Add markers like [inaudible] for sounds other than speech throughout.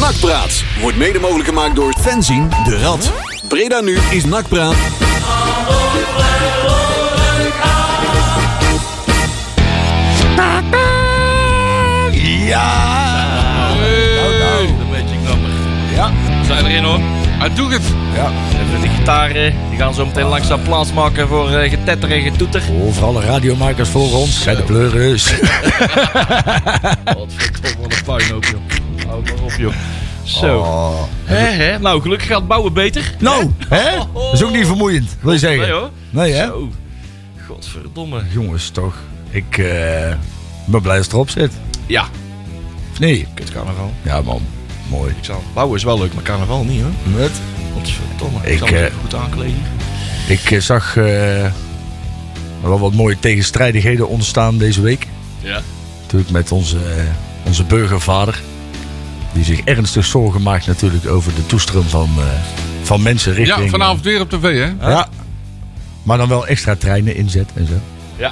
Nakpraat wordt mede mogelijk gemaakt door Fenzin de Rad. Breda nu is Nakpraat. Ja! Nou, nou. Een beetje knapper. Ja. We zijn erin hoor. Hij doet het. Ja. Even de gitaren. Die gaan zo meteen langzaam plaatsmaken voor eh, getetter en [laughs] getoeter. Overal de radiomakers voor ons. Zijn de pleuris. Wat een puinhoop joh. Hou maar op joh. Zo. Oh. Hè, hè. Nou, gelukkig gaat bouwen beter. Nou, hè? Dat is ook niet vermoeiend, wil je zeggen. Nee hoor. Nee, hè? Zo. Godverdomme. Jongens, toch. Ik eh, ben blij dat het erop zit. Ja. Of niet? Kut carnaval. Ja, man. Mooi. Ik zou bouwen is wel leuk, maar carnaval niet hoor. Wat? Godverdomme. Ik, Ik zal me eh, even goed aankleden. hier. Ik eh, zag eh, wel wat mooie tegenstrijdigheden ontstaan deze week. Ja. Natuurlijk met onze, eh, onze burgervader. Die zich ernstig zorgen maakt natuurlijk over de toestroom van, eh, van mensen richting... eh, Ja, vanavond weer op tv, hè? Ja. Maar dan wel extra treinen inzet en zo. Ja.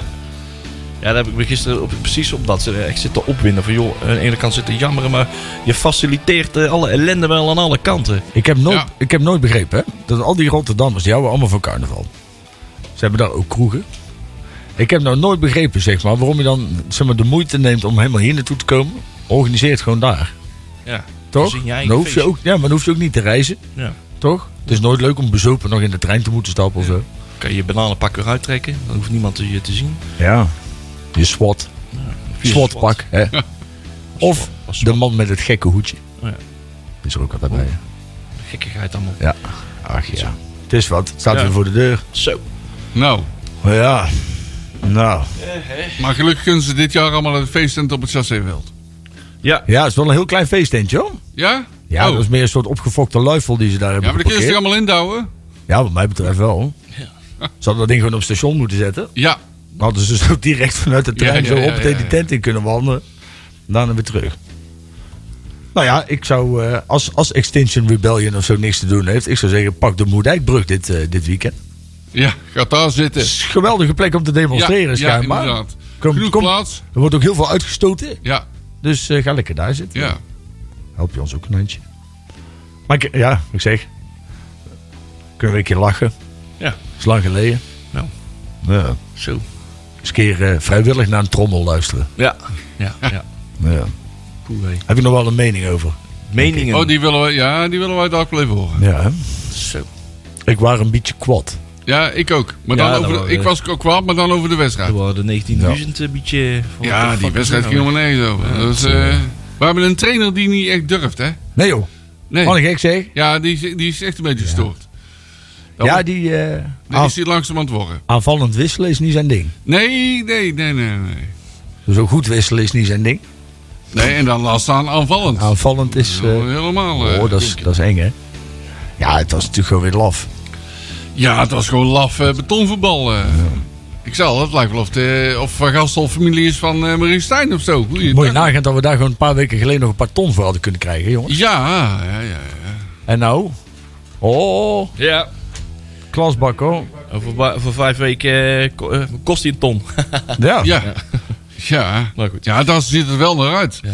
Ja, daar heb ik me gisteren op, precies op dat. eh, Ik zit te opwinden van, joh, aan de ene kant zit te jammeren, maar je faciliteert eh, alle ellende wel aan alle kanten. Ik heb nooit, Ja. ik heb nooit begrepen hè, dat al die Rotterdammers, die houden allemaal van carnaval. Ze hebben daar ook kroegen. Ik heb nou nooit begrepen, zeg maar, waarom je dan zeg maar, de moeite neemt om helemaal hier naartoe te komen. Organiseer het gewoon daar. Ja. Toch? in je eigen Dan hoef je feestje. ook, ja, maar dan hoef je ook niet te reizen. Ja. Toch? Het is nooit leuk om bezopen nog in de trein te moeten stappen of zo. Kan je je bananenpak weer uittrekken, dan hoeft niemand je te zien. Ja. Je SWAT. je SWAT-pak. Hè? [laughs] Of Als de man met het gekke hoedje. Oh Ja. Die is er ook altijd bij. hè? Gekkigheid allemaal. Ja. Ach ja. Het is wat. Het staat Ja. weer voor de deur. Zo. Nou, Ja. Nou. maar gelukkig kunnen ze dit jaar allemaal het feesttent op het chasséveld. Ja, het is wel een heel klein feestentje hoor. Ja? Ja, Oh. dat is meer een soort opgefokte luifel die ze daar ja hebben maar dan kun je ze geparkeerd. toch allemaal indouwen? Ja, wat mij betreft wel. Ze hadden dat ding gewoon op station moeten zetten. Ja. Dan hadden ze zo direct vanuit de trein ja, zo ja, op ja, ja. die tent in kunnen wandelen. Daarna weer terug. Nou ja, ik zou eh, als, als Extinction Rebellion of zo niks te doen heeft, ik zou zeggen pak de Moerdijkbrug dit, eh, dit weekend. Ja, gaat daar zitten. Het is een geweldige plek om te demonstreren ja, schijnbaar. inderdaad. Kom- Genoeg kom- plaats. er wordt ook heel veel uitgestoten, Ja, dus eh, ga lekker daar zitten. ja. help je ons ook een handje. Maar ik, ja, ik zeg, kunnen we een keer lachen? Ja. is lang geleden. Nou. Ja. Zo. Eens een keer eh, vrijwillig naar een trommel luisteren. Ja. Ja. ja. Ja. Cool, hé. Heb ik nog wel een mening over? Meningen. Oh, die willen wij, ja, die willen wij daar ook wel even horen. Ja. hè? Zo. Ik was een beetje kwad. Ja, ik ook. Maar Ja, dan dat over, wel, ik eh. was ook kwaad, maar dan over de Er wedstrijd. waren 19.000 een beetje... van wat eh, de Ja, fuck die is wedstrijd dit ging nou? helemaal nergens over. Dat is, eh, we hebben een trainer die niet echt durft, hè? Nee joh, wat een Nee. gek zeg. Ja, die, is- die is echt een beetje gestoord. Dan- Ja, die eh, Dan aan- is hij langzaam aan het worden. aanvallend wisselen is niet zijn ding. Nee, nee, nee, nee, nee. Zo goed wisselen is niet zijn ding. Nee, en dan laat staan aanvallend. Aanvallend is... eh, Helemaal. eh, oh, dat is, dat is eng hè. Ja, het was natuurlijk gewoon weer laf. Ja, het was gewoon laf eh, betonvoetbal. eh. Ik zal, het lijkt wel of, de, of Van Gastel familie is van eh Marie Stijn of zo. Goeie Moet je dag. nagaan dat we daar gewoon een paar weken geleden nog een paar ton voor hadden kunnen krijgen, jongen. Ja, ja, ja. ja. En nou? Oh, Ja. klasbak hoor. Over, ba- over vijf weken eh, ko- eh, kost hij een ton. [laughs] Ah, Ja. Ja. [laughs] Ja. Maar goed. Ja, daar ziet het wel naar uit. Ja.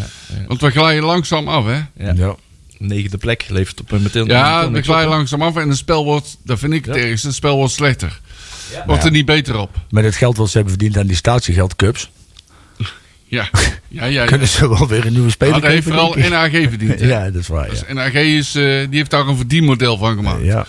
Want we glijden langzaam af, hè? Ja. Negende plek levert op een meteen. een Ja, ton we niks glijden op, hè? langzaam af en het spel wordt, dat vind ik het ergste, het spel wordt slechter. Wordt er niet beter op. Met het geld wat ze hebben verdiend aan die statiegeldcups, Ja, ja, ja. ja. kunnen ze wel weer een nieuwe speler Dat heeft kopen, vooral denk ik. NAG verdiend. hè. Ja, dat is waar. Ja. Dus NAG is, eh, die heeft daar een verdienmodel van gemaakt. Ja.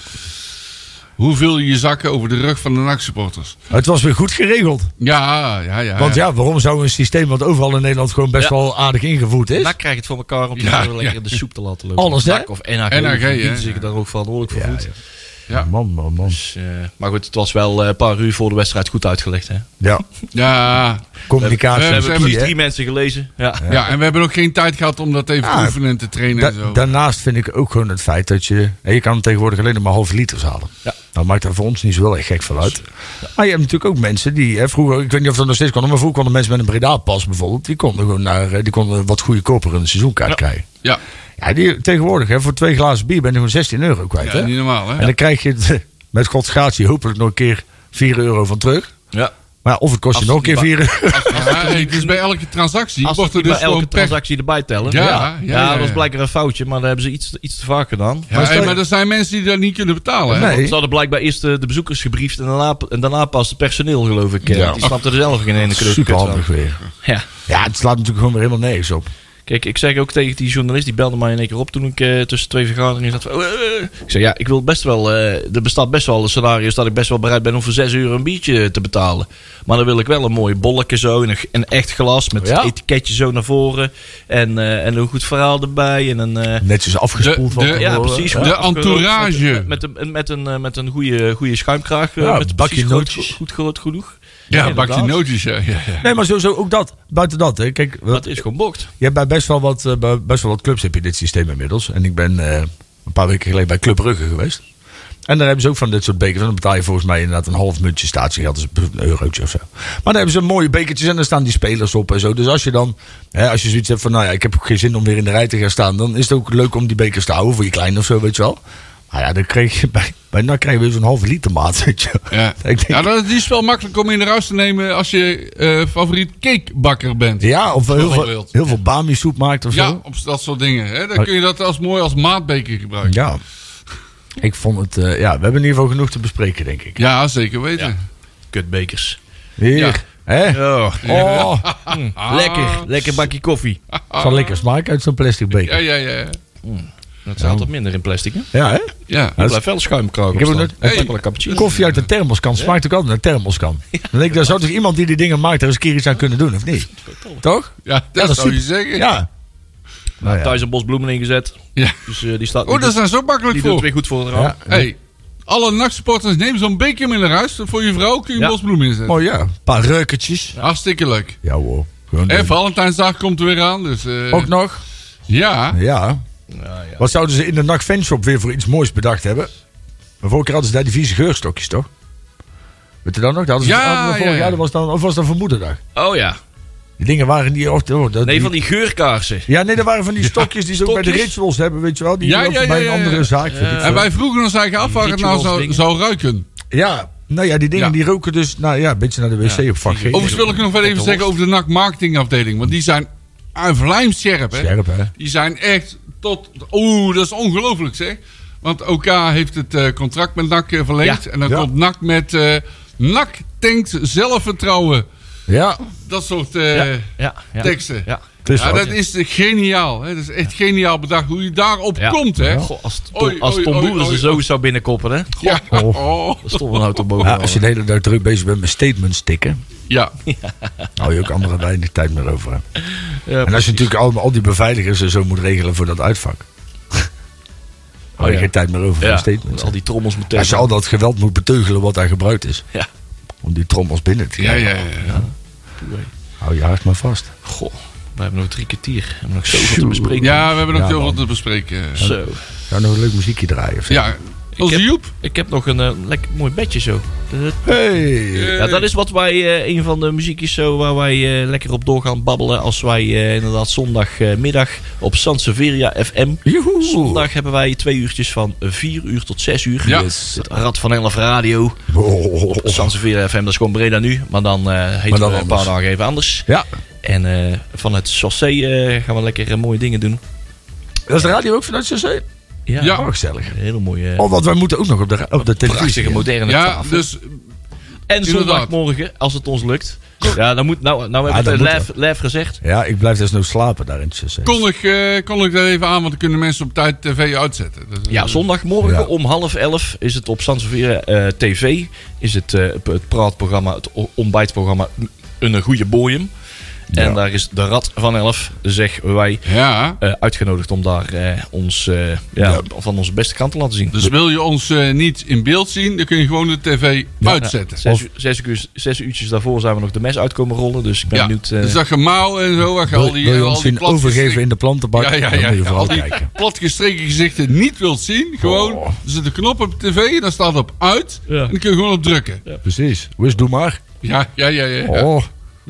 Hoeveel je zakken over de rug van de NAC-supporters. Het was weer goed geregeld. Ja, ja, ja. Want ja, waarom zou een systeem wat overal in Nederland gewoon best Ja. wel aardig ingevoerd is? NAC krijgt het voor elkaar om die ja, Ja, ja. lekker in de soep te laten lopen. Alles, hè? NAC of NAG. NAG, die hè? zich daar ook verantwoordelijk voor Ja, voelt. Ja. Man, man, man. Dus, eh, maar goed, het was wel eh, een paar uur voor de wedstrijd goed uitgelegd. Hè? Ja, Ja, communicatie. We We is hebben- hebben key, precies hè. drie mensen gelezen. Ja. ja. en we hebben ook geen tijd gehad om dat even Ah, te oefenen en te trainen en Da- zo. daarnaast vind ik ook gewoon het feit dat je... hè, Je kan tegenwoordig alleen nog maar halve liters halen. Ja. Dat maakt er voor ons niet zo heel erg gek van uit. Maar je hebt natuurlijk ook mensen die... Hè, vroeger, ik weet niet of dat nog steeds kon, maar vroeger konden mensen met een Breda-pas bijvoorbeeld... die konden gewoon naar, eh, die konden wat goedkoper een seizoenkaart krijgen. Ja, Ja, die, tegenwoordig hè, voor twee glazen bier ben je gewoon 16 euro kwijt. ja hè? niet normaal, En hè? dan krijg je het, met gods gratie hopelijk nog een keer 4 euro van terug. Ja. Maar ja, of het kost je Als nog een keer die 4 euro. Ja, hey, dus bij elke transactie Als wordt ze er het dus bij elke gewoon per... transactie erbij tellen. Ja, ja, ja. ja, dat ja. was blijkbaar een foutje, maar daar hebben ze iets, iets te vaak gedaan. Ja, hey, maar er zijn mensen die dat niet kunnen betalen. hè? Nee. Ze hadden blijkbaar eerst de, de bezoekers gebriefd en daarna, en daarna pas het personeel, geloof ik. eh, Ja. Die snapte er zelf geen ene kleur Super kut van. handig weer. Ja. Ja, het slaat natuurlijk gewoon weer helemaal nergens op. Kijk, ik zeg ook tegen die journalist, die belde mij in één keer op toen ik eh, tussen twee vergaderingen zat. van, "Eh, eh." Ik zei, ja, ik wil best wel, eh, er bestaat best wel een scenario dat ik best wel bereid ben om voor zes uur een biertje te betalen. Maar dan wil ik wel een mooie bolletje zo en een, een echt glas met Ja. het etiketje zo naar voren. En, eh, en een goed verhaal erbij en een... eh, Netjes afgespoeld De- van de- tevoren. ja, precies. De entourage. Met, een- met een, eh, met een goede, goede schuimkraag. eh, Ja, met bakje precies groot- nootjes. Goed, groot genoeg. Ja, inderdaad. bak die nootjes. Ja, ja, ja. Nee, maar sowieso ook dat. Buiten dat, hè. Kijk, wat- Dat is gewoon bokt. je hebt bij best wel, wat, eh, bij best wel wat clubs heb je dit systeem inmiddels. En ik ben eh, een paar weken geleden bij Club Brugge geweest. En daar hebben ze ook van dit soort bekers. En dan betaal je volgens mij inderdaad een half muntje statiegeld. Dus een eurotje of zo. Maar daar hebben ze mooie bekertjes en daar staan die spelers op en zo. Dus als je dan, hè, als je zoiets hebt van, nou ja, ik heb ook geen zin om weer in de rij te gaan staan. Dan is het ook leuk om die bekers te houden voor je klein of zo, weet je wel. Maar ja, dan kreeg je bij, bij NAC krijg je weer zo'n halve liter maat, weet je wel. Ja. [laughs] Ik denk, Ja, dat is wel makkelijk om in de ruis te nemen als je eh, favoriet cakebakker bent. ja, of heel veel, Bijvoorbeeld. heel veel bami soep maakt of Ja, zo. op dat soort dingen. Hè? Dan kun je dat als mooi als maatbeker gebruiken. Ja. Ik vond het... eh, ja, we hebben in ieder geval genoeg te bespreken, denk ik. Ja, zeker weten. Kutbekers. Hier. Ja. Hè? Oh, [laughs] Mm. Oh, Ah. Lekker. Lekker bakje koffie. zal lekker smaak uit zo'n plastic Ja, beker. ja, ja. Dat is altijd minder in plastic, hè? Ja, hè? ja. Er blijft wel schuimkraag Ik op heb ook staan. net- Een Hey. lekkere cappuccino. Koffie uit de thermoskan smaakt ook altijd naar thermoskan. Dan denk ik, daar zou toch iemand die die dingen maakt... er eens een keer iets aan kunnen doen, of niet? Toch? Ja, dat, is zou je super. zeggen. Ja. Nou ja. Thuis een bos bloemen ingezet. Ja. Dus eh, die staat... Oh, die dat doet- zijn zo makkelijk die doet voor. het weer goed voor de raam. Ja. Hey, alle nachtsupporters, neem zo'n beker mee naar huis. Voor je vrouw kun je een Ja. bosbloem inzetten. Oh ja, een paar reukertjes. Hartstikke leuk. Ja hoor. Gewoon En doen. Valentijnsdag komt er weer aan. Dus, eh, Ook nog? Ja. Ja. Ja, ja. Wat zouden ze in de NAC fanshop weer voor iets moois bedacht hebben? De vorige keer hadden ze daar die vieze geurstokjes, toch? Weet je dan nog? Dat hadden ze Ja, hadden we vorig ja, ja. jaar, dat was dan, of was dat voor moederdag? Oh ja. Die dingen waren die... Oh, oh, dat, Nee, van die geurkaarsen. Ja, nee, dat waren van die stokjes die ze ook bij de stokjes. rituals hebben, weet je wel. Die Ja, je ook ja, ja, bij ja, een ja. andere zaak vind ik En zo. wij vroegen ons eigenlijk af waar het nou Rituals zou, dingen. zou ruiken. Ja, nou ja, die dingen Ja. die roken dus nou, ja, een beetje naar de wc op vak. Geen Overigens wil ik nog wel even zeggen over de NAC marketingafdeling. Want die zijn vlijmscherp, hè? scherp, hè? Die zijn echt tot... Oeh, dat is ongelooflijk, zeg. Want OK heeft het eh, contract met NAC eh, verlengd. Ja. En dan Ja. komt NAC met... eh, NAC tankt zelfvertrouwen. Ja, Dat soort eh, Ja, ja, ja. teksten. Ja. het is Ja, wat. dat is eh, geniaal. Hè? Dat is echt geniaal bedacht hoe je daarop Ja. komt, hè? Goh, als, Tom- Oei, als oei, Tom oei, Boeren ze oei, zo oei. zou binnenkoppen, hè? Ja. [laughs] Oh. Dat stond [laughs] een auto boven. Ja, als je de hele dag druk bezig bent met statements tikken, ja. hou je ook andere weinig tijd meer over. hè. Ja, En als je natuurlijk al, al die beveiligers en zo moet regelen voor dat [laughs] uitvak. Hou Oh je ja. geen tijd meer over voor ja, statements. al die trommels meteen. Als je al dat geweld moet beteugelen wat daar gebruikt is. Ja. Om die trommels binnen te Ja, krijgen. ja, ja. ja. Hou je hart maar vast. Goh, we hebben nog drie kwartier. We hebben nog zoveel te bespreken. Ja, we hebben nog Ja, heel man. wat te bespreken. Zo. Zou nog een leuk muziekje draaien of zo? Ja, onze heb- Joep. Ik heb nog een eh, lekker mooi bedje zo. Dat- Hey! Ja, dat is wat wij, eh, een van de muziekjes zo waar wij eh, lekker op doorgaan babbelen. Als wij eh, inderdaad zondagmiddag op Sanseveria FM. Joehoe! Zondag hebben wij twee uurtjes van 4 uur tot 6 uur. Ja. Yes. Het Rad van Elf Radio. Oh. Sanseveria FM, dat is gewoon Breda nu. Maar dan eh heet Maar het dan een anders. paar dagen even anders. Ja, En eh, van het Chaussee eh, gaan we lekker eh, mooie dingen doen. dat is de radio ook vanuit CC? Ja. Oh, gezellig. Een hele mooie, eh, Oh, want wij moeten ook nog op de, ra- op de televisie. prachtige, moderne Ja, tafel. dus En Inderdaad. zondagmorgen, als het ons lukt. Ja, dan moet, nou, nou Ja, heb dat ik moet het live, live gezegd. Ja, ik blijf desnoods slapen daar in het CC. kon ik, eh, kon ik dat even aan, want dan kunnen mensen op tijd tv uitzetten. Dus, eh, Ja, zondagmorgen Mm. Ja. om half elf is het op Sansevieria eh TV. Is het eh, p- het praatprogramma, het o- ontbijtprogramma Een Goede Boeien. En daar is de Rad van Elf, zeggen wij, Ja, eh, uitgenodigd om daar eh, ons, eh, ja, van onze beste kant te laten zien. dus wil je ons eh, niet in beeld zien, dan kun je gewoon de tv uitzetten. Zes, uur- zes, uur, zes uurtjes daarvoor zijn we nog de mes uitkomen rollen. Dus ik ben Ja, benieuwd. eh, dus dat gemauw en zo, waar je Wil, al die, wil je al ons die zien plat overgeven gestreken- in de plantenbak? ja, ja, Dan ja, moet je ja, vooral al die kijken. platgestreken gezichten niet wilt zien, gewoon Oh. er zit een knop op tv, daar staat op uit Ja. en dan kun je gewoon op drukken. Precies. Wist, doe maar. Ja, ja, ja, ja. ja. Oh,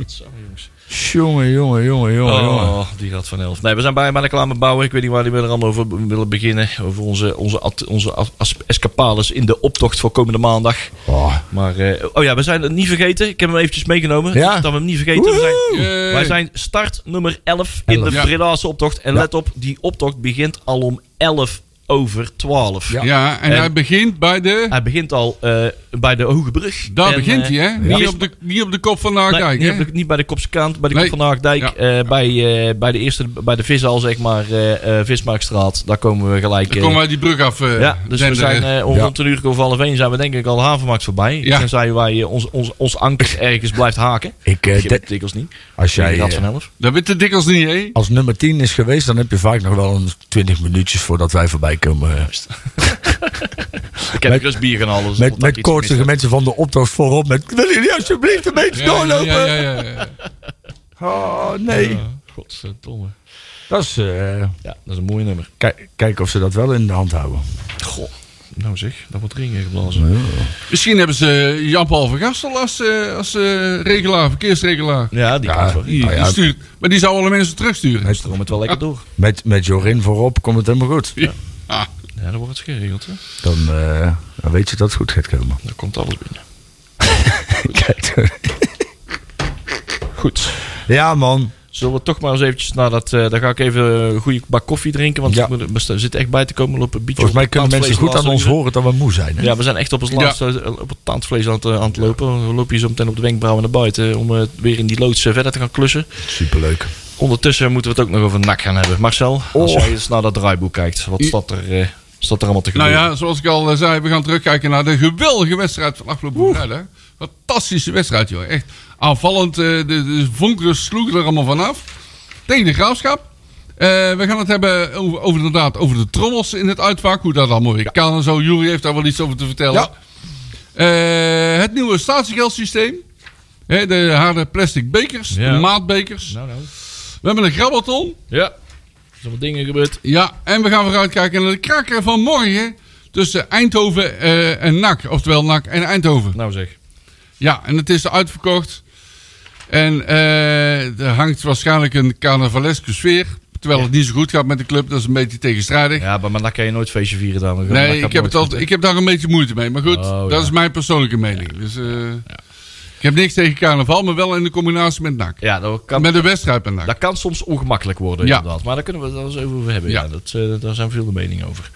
Zo, jongens. Jongen, jongen, jongen, jongen, jongen. Oh, die gaat van elf. Nee, we zijn bijna aan de klaar met bouwen. Ik weet niet waar die we er allemaal over willen beginnen. Over onze, onze, at- onze as- as- escapades in de optocht voor komende maandag. Oh. Maar, eh, oh ja, we zijn het niet vergeten. Ik heb hem eventjes meegenomen. Ja. Dat we hem niet vergeten. We zijn, Yay. wij zijn start nummer 11 in de Elf. Ja. Bredaanse optocht. En Ja. let op, die optocht begint al om 11 over 12. Ja. Ja, en En- hij begint bij de... Hij begint al eh, bij de Hoge Brug. Daar En, begint eh, hij, hè? ja. Niet, op de, niet op de kop van de Nee, Haagdijk, niet, Ah, hè? op de- niet bij de Kopse Kant, bij de Nee. Kop van de Haagdijk. Ja. eh, bij, eh, bij de eerste, bij de Vishal, zeg maar, eh, eh, Vismarktstraat. Daar komen we gelijk. Dan eh, komen wij die brug af. eh, ja, dus we zenden. zijn eh, om Ja. rond een uur of half één zijn we denk ik al de havenmarkt voorbij. Ja. Tenzij wij eh, ons, ons, ons anker ergens blijft haken. Ik, eh, Ik heb dat- het dikwijls niet. als jij Die gaat eh, vanzelf. Dat weet de dikkels niet, hè? als nummer 10 is geweest, dan heb je vaak nog wel een 20 minuutjes voordat wij voorbij komen. eh. Ik heb dus bier gaan halen. dus Met, dat ik met iets koortsige gemist mensen van de optocht voorop. Met, wil jullie alsjeblieft een beetje Ja, ja, doorlopen? ja, ja, ja. Oh, nee. heb. Ja, Godverdomme. Dat is... eh, Ja, dat is een mooi nummer. kijk, kijken of ze dat wel in de hand houden. Goh. Nou zeg, dat wordt ringen geblazen. Misschien hebben ze Jan-Paul van Gastel als, eh, als eh, regelaar, verkeersregelaar. Ja, die Ja. gaat wel. Die, Nou Oh, ja, die stuurt, maar die zou alle mensen terugsturen. Met, Komt het wel lekker door. met, met Jorin voorop komt het helemaal goed. Ah, Ja, dan wordt het geregeld. Hè? Dan, eh, dan weet je dat het goed gaat komen. Dan komt alles binnen. [laughs] Kijk. Goed. Ja, man. Zullen we toch maar eens eventjes naar dat... eh daar ga ik even een goede bak koffie drinken. Want Ja. ik moet, we sta- zitten echt bij te komen op een beetje... Volgens mij op het kunnen mensen goed taandvlees aan ons laatste uur. horen dat we moe zijn. Hè? Ja, we zijn echt op ons laatste eh, op het taandvlees aan het, eh, aan het lopen. We lopen hier zo meteen op de wenkbrauwen naar buiten. Om eh, weer in die loods eh, verder te gaan klussen. Superleuk. Ondertussen moeten we het ook nog over NAC gaan hebben. Marcel, als Oh. jij eens naar dat draaiboek kijkt. Wat I- staat er, eh, staat er allemaal te nou gebeuren? ja, zoals ik al eh, zei, we gaan terugkijken naar de geweldige wedstrijd van afgelopen vrijdag. Fantastische wedstrijd, joh. Echt aanvallend. eh, de, de vonken sloegen er allemaal vanaf. Tegen de graafschap. Eh, we gaan het hebben over, over, inderdaad, over de trommels in het uitvak. Hoe dat allemaal weer kan en zo. Jury heeft daar wel iets over te vertellen. Ja. Eh, het nieuwe statiegeldsysteem. Hè, de harde plastic bekers. Ja. De maatbekers. Nou, nou. We hebben een grabbelton. Ja. Er zijn wat dingen gebeurd. Ja, en we gaan vooruitkijken naar de kraker van morgen. Tussen Eindhoven eh, en NAC. Oftewel NAC en Eindhoven. Nou zeg. Ja, en het is uitverkocht. En eh, er hangt waarschijnlijk een carnavaleske sfeer. Terwijl het niet zo goed gaat met de club. Dat is een beetje tegenstrijdig. Ja, maar NAC kan je nooit feestje vieren, dames en heren. NAC nee, gaat ik heb, nooit het altijd, ik heb daar een beetje moeite mee. Maar goed, Oh, dat ja. is mijn persoonlijke mening. Dus, eh, Ik heb niks tegen carnaval, maar wel in de combinatie met NAC. Ja, dat kan, Met de wedstrijd met NAC. dat kan soms ongemakkelijk worden, Ja. inderdaad. Maar daar kunnen we het wel eens over hebben. Ja. Ja. dat, eh, daar zijn veel de meningen over.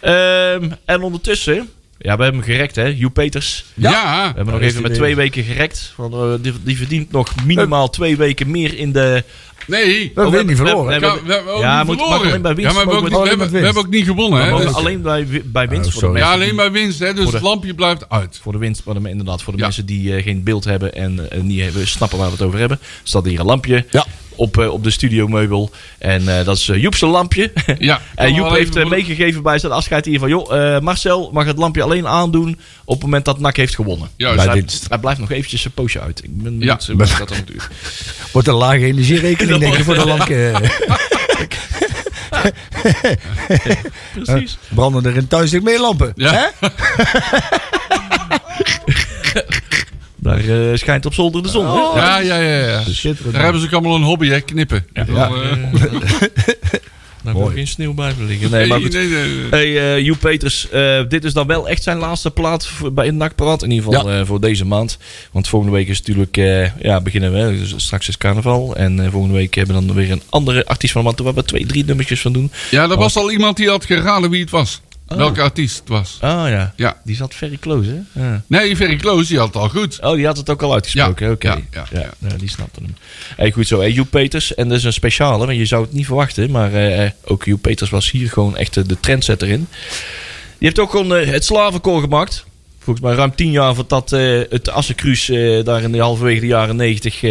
Ehm, en ondertussen... Ja, we hebben hem gerekt, hè? Joep Peters. ja. We hebben Daar nog is even hij met weer. twee weken gerekt. Want, eh, die, die verdient nog minimaal twee weken meer in de... Nee. We hebben Oh, niet we- we- verloren. hè? we- Ja, we, hebben ook Ja, niet moet- maar verloren. alleen bij winst Ja, maar we, mogen hebben we- ook niet- we, hebben, we hebben ook niet gewonnen. We Hè? mogen Dus- alleen bij, wi- bij winst Oh, voor de sorry. mensen. ja, die- alleen bij winst. Hè? Dus Voor de- het lampje blijft uit. Voor de winst, voor de, men- inderdaad, voor de Ja. mensen die eh, geen beeld hebben en eh, niet hebben, snappen waar we het over hebben. staat hier een lampje Ja. op, eh, op de studiomeubel. En eh, dat is eh, Joep zijn lampje. [laughs] Ja, en Joep Wel heeft eh, even- meegegeven bij zijn afscheid hier van... joh, eh, Marcel mag het lampje alleen aandoen op het moment dat NAC heeft gewonnen. Juist. Dus Bij hij, winst. hij blijft nog eventjes zijn poosje uit. Ik ben Ja. benieuwd eh, hoe dat dan duurt. Wordt een lage energierekening, denk ik, voor de eh, lampje. Precies. Branden er in thuis zich meer lampen. Ja. Hè? Daar eh, schijnt op zolder de zon. hè? Ja. Ja, ja, ja. ja. Schitterend. Dus Daar hebben ze ook allemaal een hobby, hè? Knippen. eh, Ja. Daar moet Mooi. Nou, geen sneeuw bij liggen. Nee, maar goed. Hey, eh, Joep Peters, eh, dit is dan wel echt zijn laatste plaat voor- bij het nakpraat. In ieder geval eh, voor deze maand. Want volgende week is natuurlijk, eh, ja, beginnen we. hè. Dus straks is carnaval. En eh, volgende week hebben we dan weer een andere artiest van de maand. Waar we twee, drie nummertjes van doen. Ja, er was al iemand die had geraden wie het was. Welke artiest het was. Ah ja. Ja. Die zat very close, hè? Ja. Nee, Ferry Kloos, die had het al goed. Oh, die had het ook al uitgesproken. Ja, Oké. ja, ja, ja. ja, nou, die snapte hem. Hey, goed zo. Hey, Joep Peters. En dat is een speciale, want je zou het niet verwachten. Maar eh, ook Joep Peters was hier gewoon echt eh, de trendsetter in. Je hebt ook gewoon eh, het slavenkoor gemaakt. Volgens mij ruim tien jaar voordat eh het Assencruis eh, daar in de halverwege de jaren negentig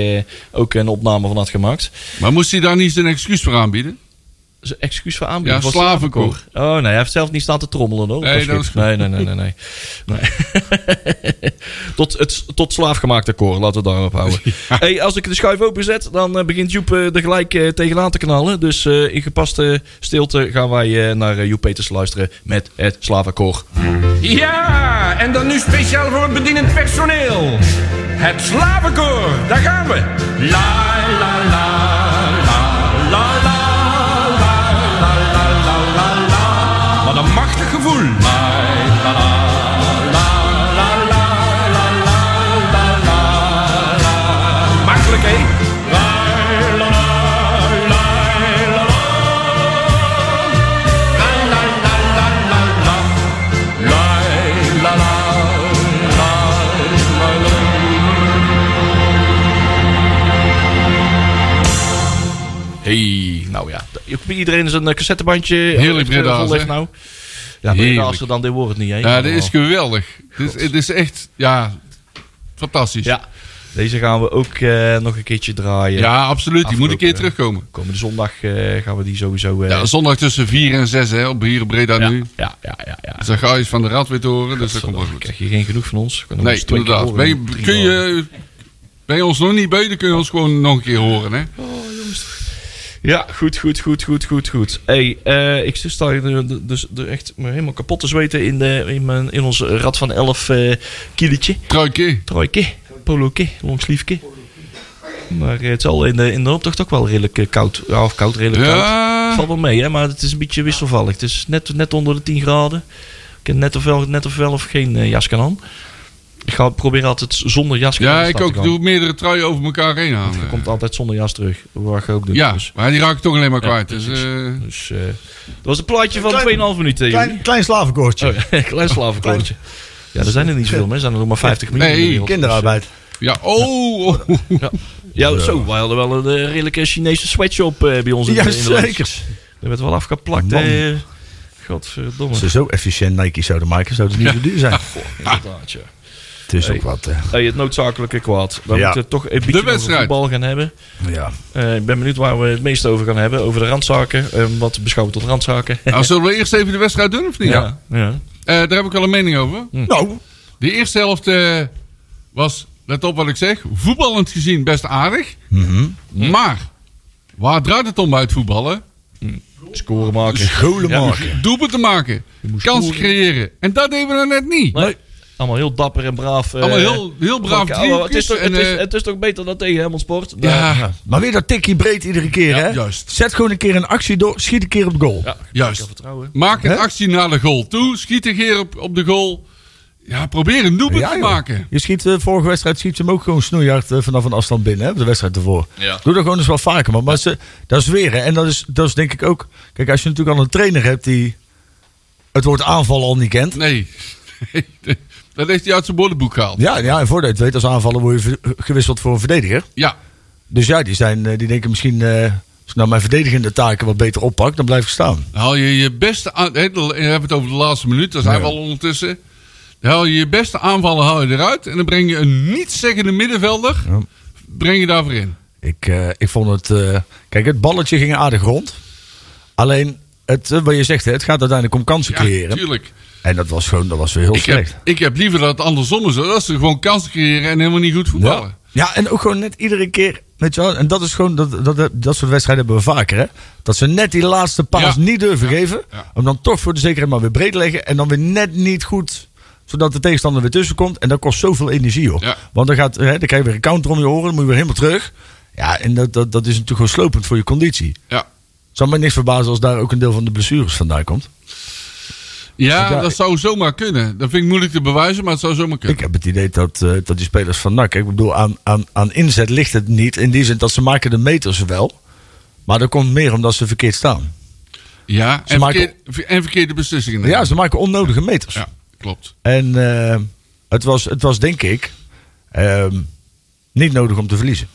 ook een opname van had gemaakt. Maar moest hij daar niet zijn excuus voor aanbieden? z- excuus voor Ja, aanbieden? Was- slavenkoor. Oh nee, hij heeft zelf niet staan te trommelen hoor. Nee, dat is goed. Nee, nee, nee, nee. nee. Nee. [laughs] tot, het, tot slaafgemaakte koor, laten we het daarop houden. hey, als ik de schuif openzet, dan eh, begint Joep eh, er gelijk eh, tegenaan te knallen. Dus eh, in gepaste stilte gaan wij eh, naar eh, Joep Peters luisteren met het slavenkoor. Ja, en dan nu speciaal voor het bedienend personeel. Het slavenkoor, daar gaan we. La la la la la la la la la la la la. Wat een machtig gevoel. La la la la la la la la la la la. Makkelijk hè? La la la la la. La, la, la, la, la, la. La, la, la, la, la, la. Hey, nou ja. Ik- Iedereen is een eh, cassettebandje. Heerlijk Eh, Breda's, volleeg hè? Nou. Ja, Breda Heerlijk. als ze dan dit woord niet hè? Ja, dit is Allemaal. geweldig. Dit, is- het is echt, ja, fantastisch. Ja, deze gaan we ook eh, nog een keertje draaien. Ja, absoluut. Die moet een keer Afgelopen, eh, terugkomen. Komende zondag eh, gaan we die sowieso... eh, Ja, zondag tussen 4 en 6, hè, op hier Breda ja, nu. ja, ja, ja, ja. Dus dan ga je eens van de rad weer te horen, dus dat komt wel Dan goed. krijg je geen genoeg van ons. Kunnen we Nee, ons twee keer inderdaad. Ben horen, je, drie kun horen. je, ben je ons nog niet bij, dan kun je ons gewoon nog een keer horen, hè? Ja, goed, goed, goed, goed, goed, goed. Hey, eh, ik sta hier nu dus er echt me helemaal kapot te zweten in, de, in, mijn, in ons rad van 11 eh kiletje. Truikje. Trojke, poloke, longsliefke. Maar eh, het is al in de, in de optocht ook wel redelijk eh, koud. Ja, of koud, redelijk koud. Het Ja, valt wel mee, hè, maar het is een beetje wisselvallig. Het is net, net onder de 10 graden. Ik heb net of wel, net of, wel of geen eh, jaskan aan. Ik ga proberen altijd zonder jaskan aan ja de ik stad ook. te Ik gaan. doe meerdere truien over elkaar heen aan. eh. Er komt altijd zonder jas terug. Wat ik ook doen. Ja, Dus, maar die raak ik toch alleen maar kwijt. Dus, precies. eh, dus, eh, dat was een plaatje van Klein- 2,5 minuten. Klein, klein slavenkoortje. jongen. [laughs] Oh, [laughs] klein slavenkoortje. Ja, er zijn er niet zoveel, hè. Er zijn er nog maar 50 miljoen in de Nee, wereld. Kinderarbeid. ja, oh, [laughs] oh. Ja, zo. Wij hadden wel een eh, redelijke Chinese sweatshop eh, bij ons in, de- Ja, in de lunch. zeker. Er werd wel afgeplakt. Man. eh. Godverdomme. Als ze zo efficiënt Nike zouden maken, zouden ze niet zo duur zijn. Inderdaad, ja. Het is Hey. ook wat. eh, Hey, het noodzakelijke kwaad. We Ja. moeten toch een beetje over wedstrijd. voetbal gaan hebben. ja. Eh, ik ben benieuwd waar we het meest over gaan hebben. Over de randzaken. Eh, wat beschouwen we tot randzaken? Nou, zullen we eerst even de wedstrijd doen, of niet? ja. Hm. Eh, daar heb ik wel een mening over. Nou, De eerste helft eh, was, let op wat ik zeg, voetballend gezien best aardig. Mhm. Hm. Maar, waar draait het om bij het voetballen? Scoren maken. golen Ja. maken. Doelpunten maken, kansen creëren. En dat deden we nou net niet. Nee. Allemaal heel dapper en braaf. eh, Allemaal heel, heel braaf pakken. Oh, het, is driehoekjes toch, en, het, is, eh, het is toch beter dan tegen Helmond Sport? Nou, Ja, Ja, Maar weer dat tikkie breed iedere keer, hè? juist. Zet gewoon een keer een actie door, schiet een keer op goal. Ja, juist. vertrouwen. Maak een Hè? actie naar de goal toe. Schiet een keer op, op de goal. Ja, probeer een doelpunt Ja, te joh. maken. Je schiet eh, vorige wedstrijd schiet ze hem ook gewoon snoeihard eh, vanaf een afstand binnen, hè? De wedstrijd ervoor. Ja. Doe dat gewoon eens wat vaker, man. Maar ze, dat is weer, hè? En dat is, dat is denk ik ook. Kijk, als je natuurlijk al een trainer hebt die het woord aanval al niet kent. Nee. [laughs] dat heeft hij uit zijn woordenboek gehaald. Ja, ja en voordat je het weet, als aanvaller word je ver- eh, gewisseld voor een verdediger. Ja. Dus ja, die, zijn, eh, die denken misschien. eh, als ik nou mijn verdedigende taken wat beter oppak, dan blijf ik staan. Dan haal je je beste aan. hè, dan- We hebben het over de laatste minuut, daar zijn we al ondertussen. Dan haal je je beste aanvallen haal je eruit. En dan breng je een nietszeggende middenvelder. Ja. Breng je daarvoor in. Ik, eh, ik vond het. eh, kijk, het balletje ging aardig rond. Alleen, het, eh, wat je zegt, hè, het gaat uiteindelijk om kansen Ja, creëren. tuurlijk. En dat was gewoon dat was weer heel Ik slecht. heb, ik heb liever dat het andersom is. hoor. Dat ze gewoon kansen creëren en helemaal niet goed voetballen. ja. ja, en ook gewoon net iedere keer. Weet je wel, en dat is gewoon. Dat, dat, dat soort wedstrijden hebben we vaker, hè? Dat ze net die laatste paas Ja. niet durven geven. Ja. Om dan toch voor de zekerheid maar weer breed leggen. En dan weer net niet goed. Zodat de tegenstander weer tussenkomt. En dat kost zoveel energie, hoor. Ja. Want dan, gaat, hè, dan krijg je weer een counter om je oren. Dan moet je weer helemaal terug. Ja, en dat, dat, dat is natuurlijk gewoon slopend voor je conditie. Ja, Het zou mij niks verbazen als daar ook een deel van de blessures vandaan komt. ja, Ja, dat ik- zou zomaar kunnen. Dat vind ik moeilijk te bewijzen, maar het zou zomaar kunnen. Ik heb het idee dat, eh, dat die spelers van NAC... Ik bedoel, aan, aan, aan inzet ligt het niet. In die zin dat ze maken de meters wel. Maar dat komt meer omdat ze verkeerd staan. ja, Ze en, maken- verkeer- en verkeerde beslissingen. nemen. Ja, ze maken onnodige meters. ja klopt. En eh, het, was, het was denk ik... ehm, niet nodig om te verliezen.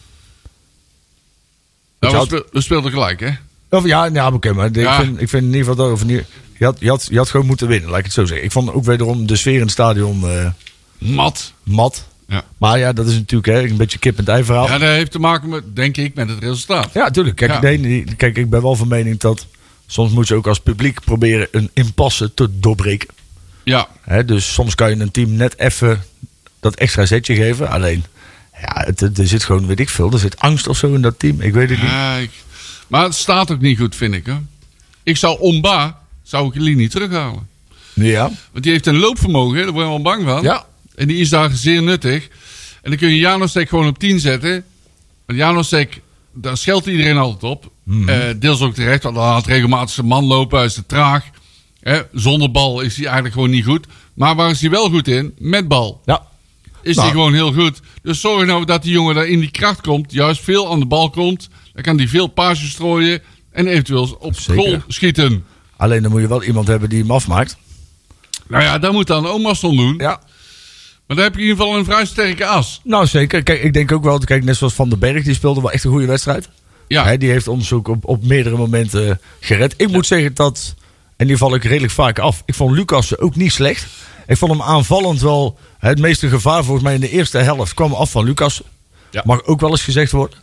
Nou, we, zou- speel- we speelden gelijk, hè? Of ja, ja maar oké, maar Ja. Ik, vind, ik vind in ieder geval dat... Of niet, je, had, je, had, je had gewoon moeten winnen, laat ik het zo zeggen. Ik vond ook wederom de sfeer in het stadion eh, Mat. mat. Ja. Maar ja, dat is natuurlijk hè, een beetje kip-en-ei verhaal. Ja, dat heeft te maken met, denk ik, met het resultaat. Ja, tuurlijk. Kijk, Ja. de ene die- kijk, ik ben wel van mening dat Soms moet je ook als publiek proberen een impasse te doorbreken. Ja, Hè, dus soms kan je een team net even dat extra zetje geven. Alleen, ja, het, het- er zit gewoon, weet ik veel, er zit angst of zo in dat team. Ik weet het niet. Ja, ik- maar het staat ook niet goed, vind ik. Hè? Ik zou Omba, zou ik jullie niet terughalen. Ja. Want die heeft een loopvermogen, daar word je wel bang van. Ja. En die is daar zeer nuttig. En dan kun je Janostek gewoon op 10 zetten. Want Janostek, daar scheldt iedereen altijd op. Mhm. Eh, deels ook terecht, want hij had regelmatig zijn man lopen, hij is te traag. Hè, zonder bal is hij eigenlijk gewoon niet goed. Maar waar is hij wel goed in? Met bal Ja. is Nou. die gewoon heel goed. Dus zorg nou dat die jongen daar in die kracht komt. Juist veel aan de bal komt. Dan kan die veel paasjes strooien. En eventueel op Zeker. school schieten. Alleen dan moet je wel iemand hebben die hem afmaakt. Nou ja, dat moet dan Omarsson doen. Ja. Maar daar heb je in ieder geval een vrij sterke as. Nou, zeker. Kijk, ik denk ook wel, kijk, net zoals Van den Berg, die speelde wel echt een goede wedstrijd. Ja, Hè, die heeft ons ook op, op meerdere momenten gered. Ik moet zeggen dat, en die val ik redelijk vaak af, ik vond Lucas ook niet slecht. Ik vond hem aanvallend wel, hè, het meeste gevaar volgens mij in de eerste helft kwam af van Lucas. Ja. Mag ook wel eens gezegd worden.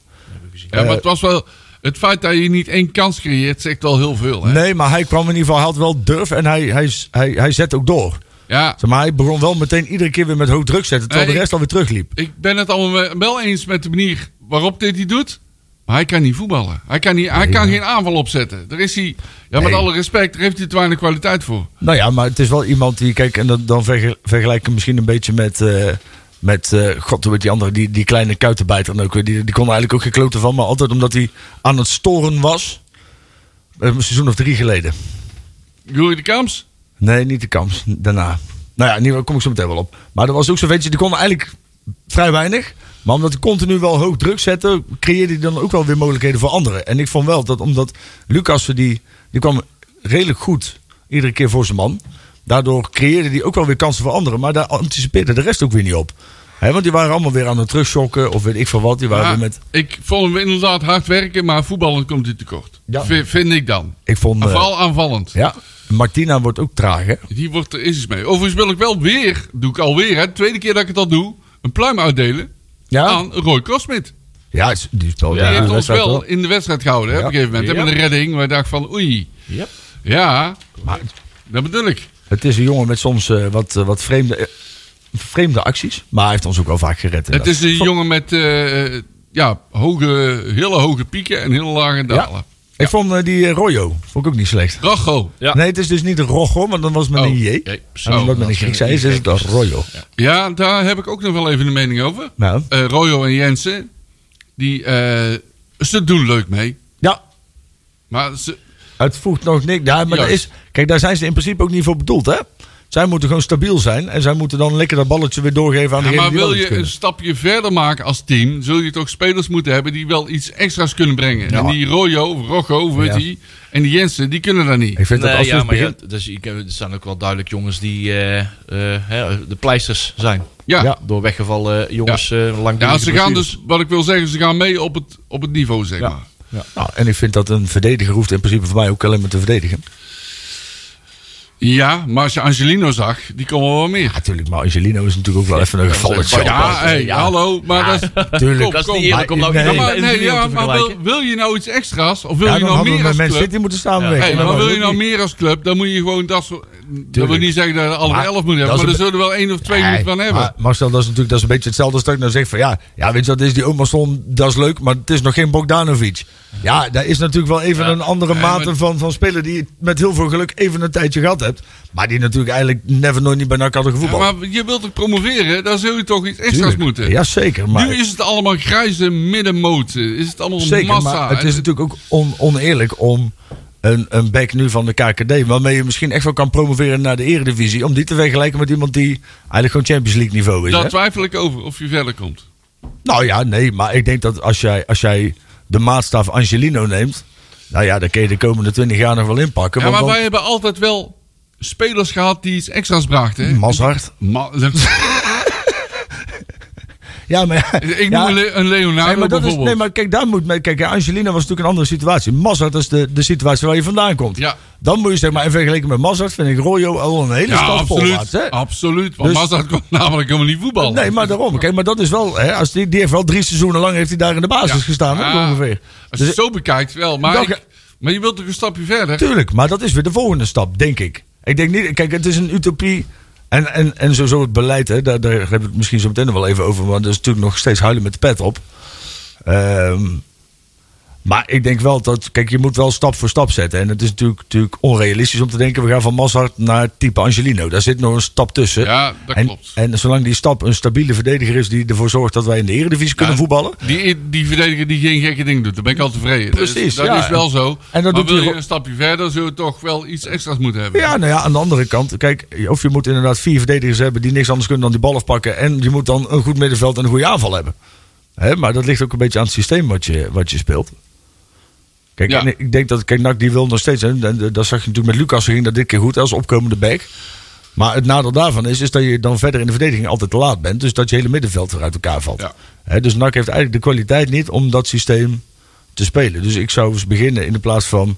ja eh, maar het was wel... Het feit dat je niet één kans creëert, zegt wel heel veel. Hè? Nee, maar hij kwam in ieder geval, hij had wel durf en hij, hij, hij, hij zet ook door. Ja, Zeg maar hij begon wel meteen iedere keer weer met hoog druk zetten, terwijl Nee. de rest alweer terugliep. ik ben het allemaal wel eens met de manier waarop dit hij doet. Maar hij kan niet voetballen. Hij kan, niet, hij kan geen aanval opzetten. Daar is hij... Ja, met Nee. alle respect, daar heeft hij te weinig kwaliteit voor. Nou ja, maar het is wel iemand die, kijk, en dan, dan verge- vergelijk ik hem misschien een beetje met, eh, met eh, god, hoe heet die andere, die, die kleine kuitenbijter dan ook, weer. die, die kon er eigenlijk ook geen kloten van, maar altijd omdat hij aan het storen was, Eh, een seizoen of drie geleden. Jurie de Kamps? Nee, niet de kans, daarna. Nou ja, in ieder geval kom ik zo meteen wel op. Maar er was ook zo'n ventje, die kon eigenlijk vrij weinig, maar omdat hij continu wel hoog druk zette, creëerde hij dan ook wel weer mogelijkheden voor anderen. En ik vond wel dat, omdat Lucas, die, die kwam redelijk goed iedere keer voor zijn man. Daardoor creëerde hij ook wel weer kansen voor anderen. Maar daar anticipeerde de rest ook weer niet op. Hè, want die waren allemaal weer aan het terugschokken. Of weet ik veel wat. Die waren Ja, weer met. Ik vond hem inderdaad hard werken, maar voetballend komt hij tekort. Ja. V- Vind ik dan. Ik vond. Maar eh, vooral aanvallend. ja, Martina wordt ook traag, hè? Die wordt er is iets mee. Overigens wil ik wel weer, doe ik alweer, hè, de tweede keer dat ik het al doe, een pluim uitdelen Ja, aan Roy Crossmit. ja het is- die speelde. Die ja, heeft de ons wedstrijd wel wel. in de wedstrijd gehouden hè, op Ja. een gegeven moment. hè, Ja. Met een redding, waar ik dacht van oei. Yep. Ja, Maar dat bedoel ik. het is een jongen met soms eh, wat, eh, wat vreemde, eh, vreemde acties. Maar hij heeft ons ook wel vaak gered. Het is een jongen met eh, ja, hoge, hele hoge pieken en hele lage dalen. Ik vond eh, die eh, Royo vond ik ook niet slecht. Racho. Ja. Nee, het is dus niet Rogo, maar dan was het met Oh, een J. jee. en Oh, omdat men dat een is Griek zei, is het dan Royo. Ja, daar heb ik ook nog wel even een mening over. Nou. Eh, Royo en Jensen, die, eh, ze doen leuk mee. Ja, Maar ze, Het voegt nog niks. Ja, maar dat Juist. is, kijk, daar zijn ze in principe ook niet voor bedoeld, hè? Zij moeten gewoon stabiel zijn en zij moeten dan lekker dat balletje weer doorgeven aan ja, degene maar die wel wil iets je een kunnen. stapje verder maken als team, zul je toch spelers moeten hebben die wel iets extra's kunnen brengen. Ja. En die Royo, of Rocho, of weet Ja. die, en die Jensen, die kunnen dat niet. Ik vind dat Nee, als ja, we maar ja, begint. dat is- ik- eh, er zijn ook wel duidelijk jongens die eh, eh, hè, de pleisters zijn. Ja. Ja. Ja. Door weggevallen jongens eh lang ze gaan dus, wat ik wil zeggen, ze gaan mee op het, op het niveau, zeg maar. Nou, en ik vind dat een verdediger hoeft in principe voor mij ook alleen maar te verdedigen. Ja, maar als je Angelino zag, die komen wel meer. Natuurlijk, maar Angelino is natuurlijk ook wel even een gevalletje. Ja, hey, hallo, maar dat is... Tuurlijk. Kom, Dat is niet kom. eerlijk om nou Nee. iedereen Ja, Nee, maar, met nee, Angelino ja, te maar wil, vergelijken. wil je nou iets extra's? Of wil Ja, je dan nou hadden we meer met als Man club? City moeten samenwerken. Hey, En maar dat wil was je ook nou niet. meer als club, dan moet je gewoon dat soort... Dat wil niet zeggen dat je alle Maar elf moet hebben, dat is maar een er zullen wel één of twee Nee, moeten van hebben. Maar Marcel, dat is natuurlijk dat is een beetje hetzelfde als dat ik nou zeg van ja, ja weet je wat, is die Omerson, dat is leuk, maar het is nog geen Bogdanovic. Ja, daar is natuurlijk wel even een andere mate maar- van, van speler die je met heel veel geluk even een tijdje gehad hebt. Maar die natuurlijk eigenlijk never nooit niet bij NAC hadden Ja, gevoetbald. maar je wilt toch promoveren? Dan zul je toch iets extra's Tuurlijk. moeten. Jazeker, maar, nu is het allemaal grijze middenmoot. Is het allemaal zeker, massa. maar het is En- natuurlijk ook on- oneerlijk om een, een back nu van de KKD, waarmee je misschien echt wel kan promoveren naar de eredivisie, om die te vergelijken met iemand die eigenlijk gewoon Champions League niveau is. Daar hè? twijfel ik over of je verder komt. Nou ja, nee, maar ik denk dat als jij, als jij de maatstaf Angelino neemt. Nou ja, dan kun je de komende 20 jaar nog wel inpakken. Ja, want maar wij dan- hebben altijd wel spelers gehad die iets extra's brachten. hè? Mazhart. Ma- [laughs] Ja, maar. ik noem ja, een Le- een Leonardo Nee maar, dat is, bijvoorbeeld. nee, maar kijk, daar moet men- Kijk, Angelino was natuurlijk een andere situatie. Mazart is de, de situatie waar je vandaan komt. Ja. Dan moet je zeg maar, in vergelijking met Mazart vind ik Royo al een hele ja, stap voorwaarts, absoluut. hè? Absoluut. Want Dus- Mazda kon namelijk helemaal niet voetballen. Nee, maar daarom. Kijk, maar dat is wel. Hè, als die, die heeft wel drie seizoenen lang heeft hij daar in de basis Ja. gestaan, hè, Ah, ongeveer. Als je Dus- het zo bekijkt wel. Maar, Dan ik, ga- Maar je wilt toch een stapje verder? Tuurlijk, maar dat is weer de volgende stap, denk ik. Ik denk niet, kijk, het is een utopie. En, en, en sowieso het beleid, hè, daar, daar hebben we het misschien zo meteen nog wel even over. Maar dat is natuurlijk nog steeds huilen met de pet op. Ehm, maar ik denk wel dat, kijk, je moet wel stap voor stap zetten. En het is natuurlijk, natuurlijk onrealistisch om te denken, we gaan van Massart naar type Angelino. Daar zit nog een stap tussen. Ja, dat en, klopt. En zolang die stap een stabiele verdediger is die ervoor zorgt dat wij in de Eredivisie kunnen voetballen. Die, die verdediger die geen gekke ding doet, daar ben ik al tevreden. Dus Precies, dat ja. is wel zo. En dat maar doet wil hij je ook- een stapje verder, zul je toch wel iets extra's moeten hebben. Ja, nou ja, aan de andere kant. Kijk, of je moet inderdaad vier verdedigers hebben die niks anders kunnen dan die bal afpakken. En je moet dan een goed middenveld en een goede aanval hebben. Hè, maar dat ligt ook een beetje aan het systeem wat je, wat je speelt. Kijk, Ja. en ik denk dat kijk, NAC die wil nog steeds. Hè, en dat zag je natuurlijk met Lucas, ging dat dit keer goed als opkomende back. Maar het nadeel daarvan is, is dat je dan verder in de verdediging altijd te laat bent. Dus dat je hele middenveld eruit elkaar valt. Ja. Hè, dus NAC heeft eigenlijk de kwaliteit niet om dat systeem te spelen. Dus ik zou eens beginnen in de plaats van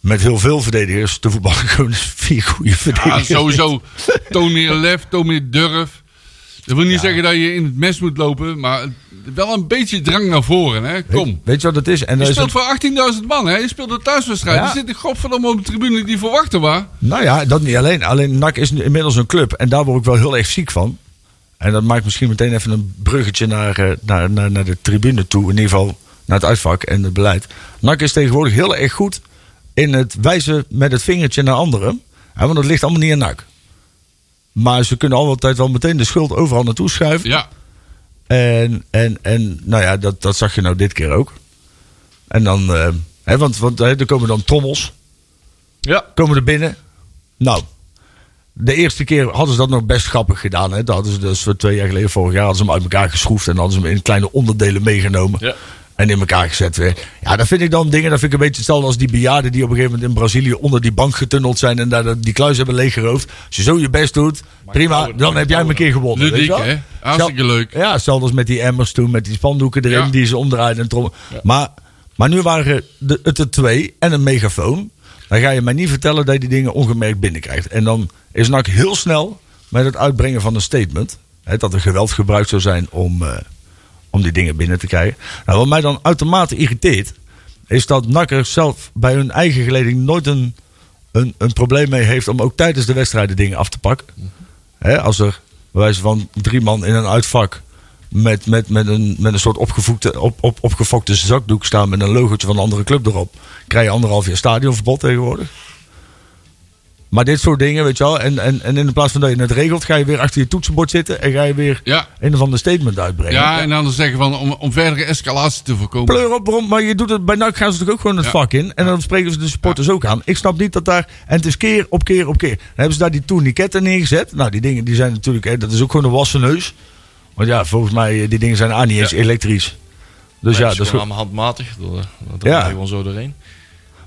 met heel veel verdedigers te voetballen. Gewoon eens vier goede Ja, verdedigers. [laughs] sowieso. Toon meer lef, toon meer durf. Dat wil niet zeggen dat je in het mes moet lopen, maar wel een beetje drang naar voren. Hè? Kom. Weet je wat het is? En Je dat is speelt het- voor 18.000 man, hè? je speelt een thuiswedstrijd. Ja. Er zit een godverdomme op de tribune die verwachten waar. nou ja, dat niet alleen. Alleen NAC is nu inmiddels een club. En daar word ik wel heel erg ziek van. En dat maakt misschien meteen even een bruggetje naar, eh, naar, naar, naar de tribune toe. In ieder geval naar het uitvak en het beleid. NAC is tegenwoordig heel erg goed in het wijzen met het vingertje naar anderen. Hè, want dat ligt allemaal niet aan NAC. Maar ze kunnen altijd wel meteen de schuld overal naartoe schuiven. Ja, En, en, en nou ja, dat, dat zag je nou dit keer ook. En dan, eh, hè, want, want hè, er komen dan trommels, Ja. komen er binnen. Nou, de eerste keer hadden ze dat nog best grappig gedaan. Hè? Dat hadden ze dus eh, twee jaar geleden, vorig jaar, hadden ze hem uit elkaar geschroefd. En hadden ze hem in kleine onderdelen meegenomen. Ja. En in elkaar gezet weer. Ja, dat vind ik dan dingen, dat vind ik een beetje hetzelfde als die bejaarden die op een gegeven moment in Brazilië onder die bank getunneld zijn. En daar dat- die kluis hebben leeggeroofd. Als je zo je best doet, prima, dan heb jij hem een keer gewonnen. weet je ludiek wel? hè. Hartstikke Zelf- leuk. ja, hetzelfde als met die emmers toen, met die spandoeken erin Ja. die ze omdraaiden en trommel. Maar, maar nu waren er de, het er twee en een megafoon. Dan ga je mij niet vertellen dat je die dingen ongemerkt binnenkrijgt. En dan is NAC heel snel met het uitbrengen van een statement. Hè, dat er geweld gebruikt zou zijn om, eh, om die dingen binnen te krijgen. Nou, wat mij dan uitermate irriteert, is dat NAC er zelf bij hun eigen geleding nooit een, een, een probleem mee heeft om ook tijdens de wedstrijden dingen af te pakken. Hè, als er bij wijze van drie man in een uitvak met, met, met, een, met een soort opgevoekte, op, op, opgefokte zakdoek staan met een logootje van een andere club erop, krijg je anderhalf jaar stadionverbod tegenwoordig. Maar dit soort dingen, weet je wel, en, en, en in de plaats van dat je het regelt, ga je weer achter je toetsenbord zitten en ga je weer Ja. een of ander statement uitbrengen. Ja, en dan zeggen van om, om verdere escalatie te voorkomen. Pleur op, waarom? Maar je doet het bij NAC gaan ze natuurlijk ook gewoon het Ja. vak in. En dan spreken ze de supporters ook aan. Ik snap niet dat daar. En het is keer op keer op keer. Dan hebben ze daar die tourniquetten neergezet. Nou, die dingen die zijn natuurlijk. Hè, dat is ook gewoon een wassen neus. Want ja, volgens mij, eh, die dingen zijn aan niet eens elektrisch. Dus ja, Nee, dat is goed. gewoon allemaal handmatig. Dat, dat dat Ja. ga je gewoon zo doorheen.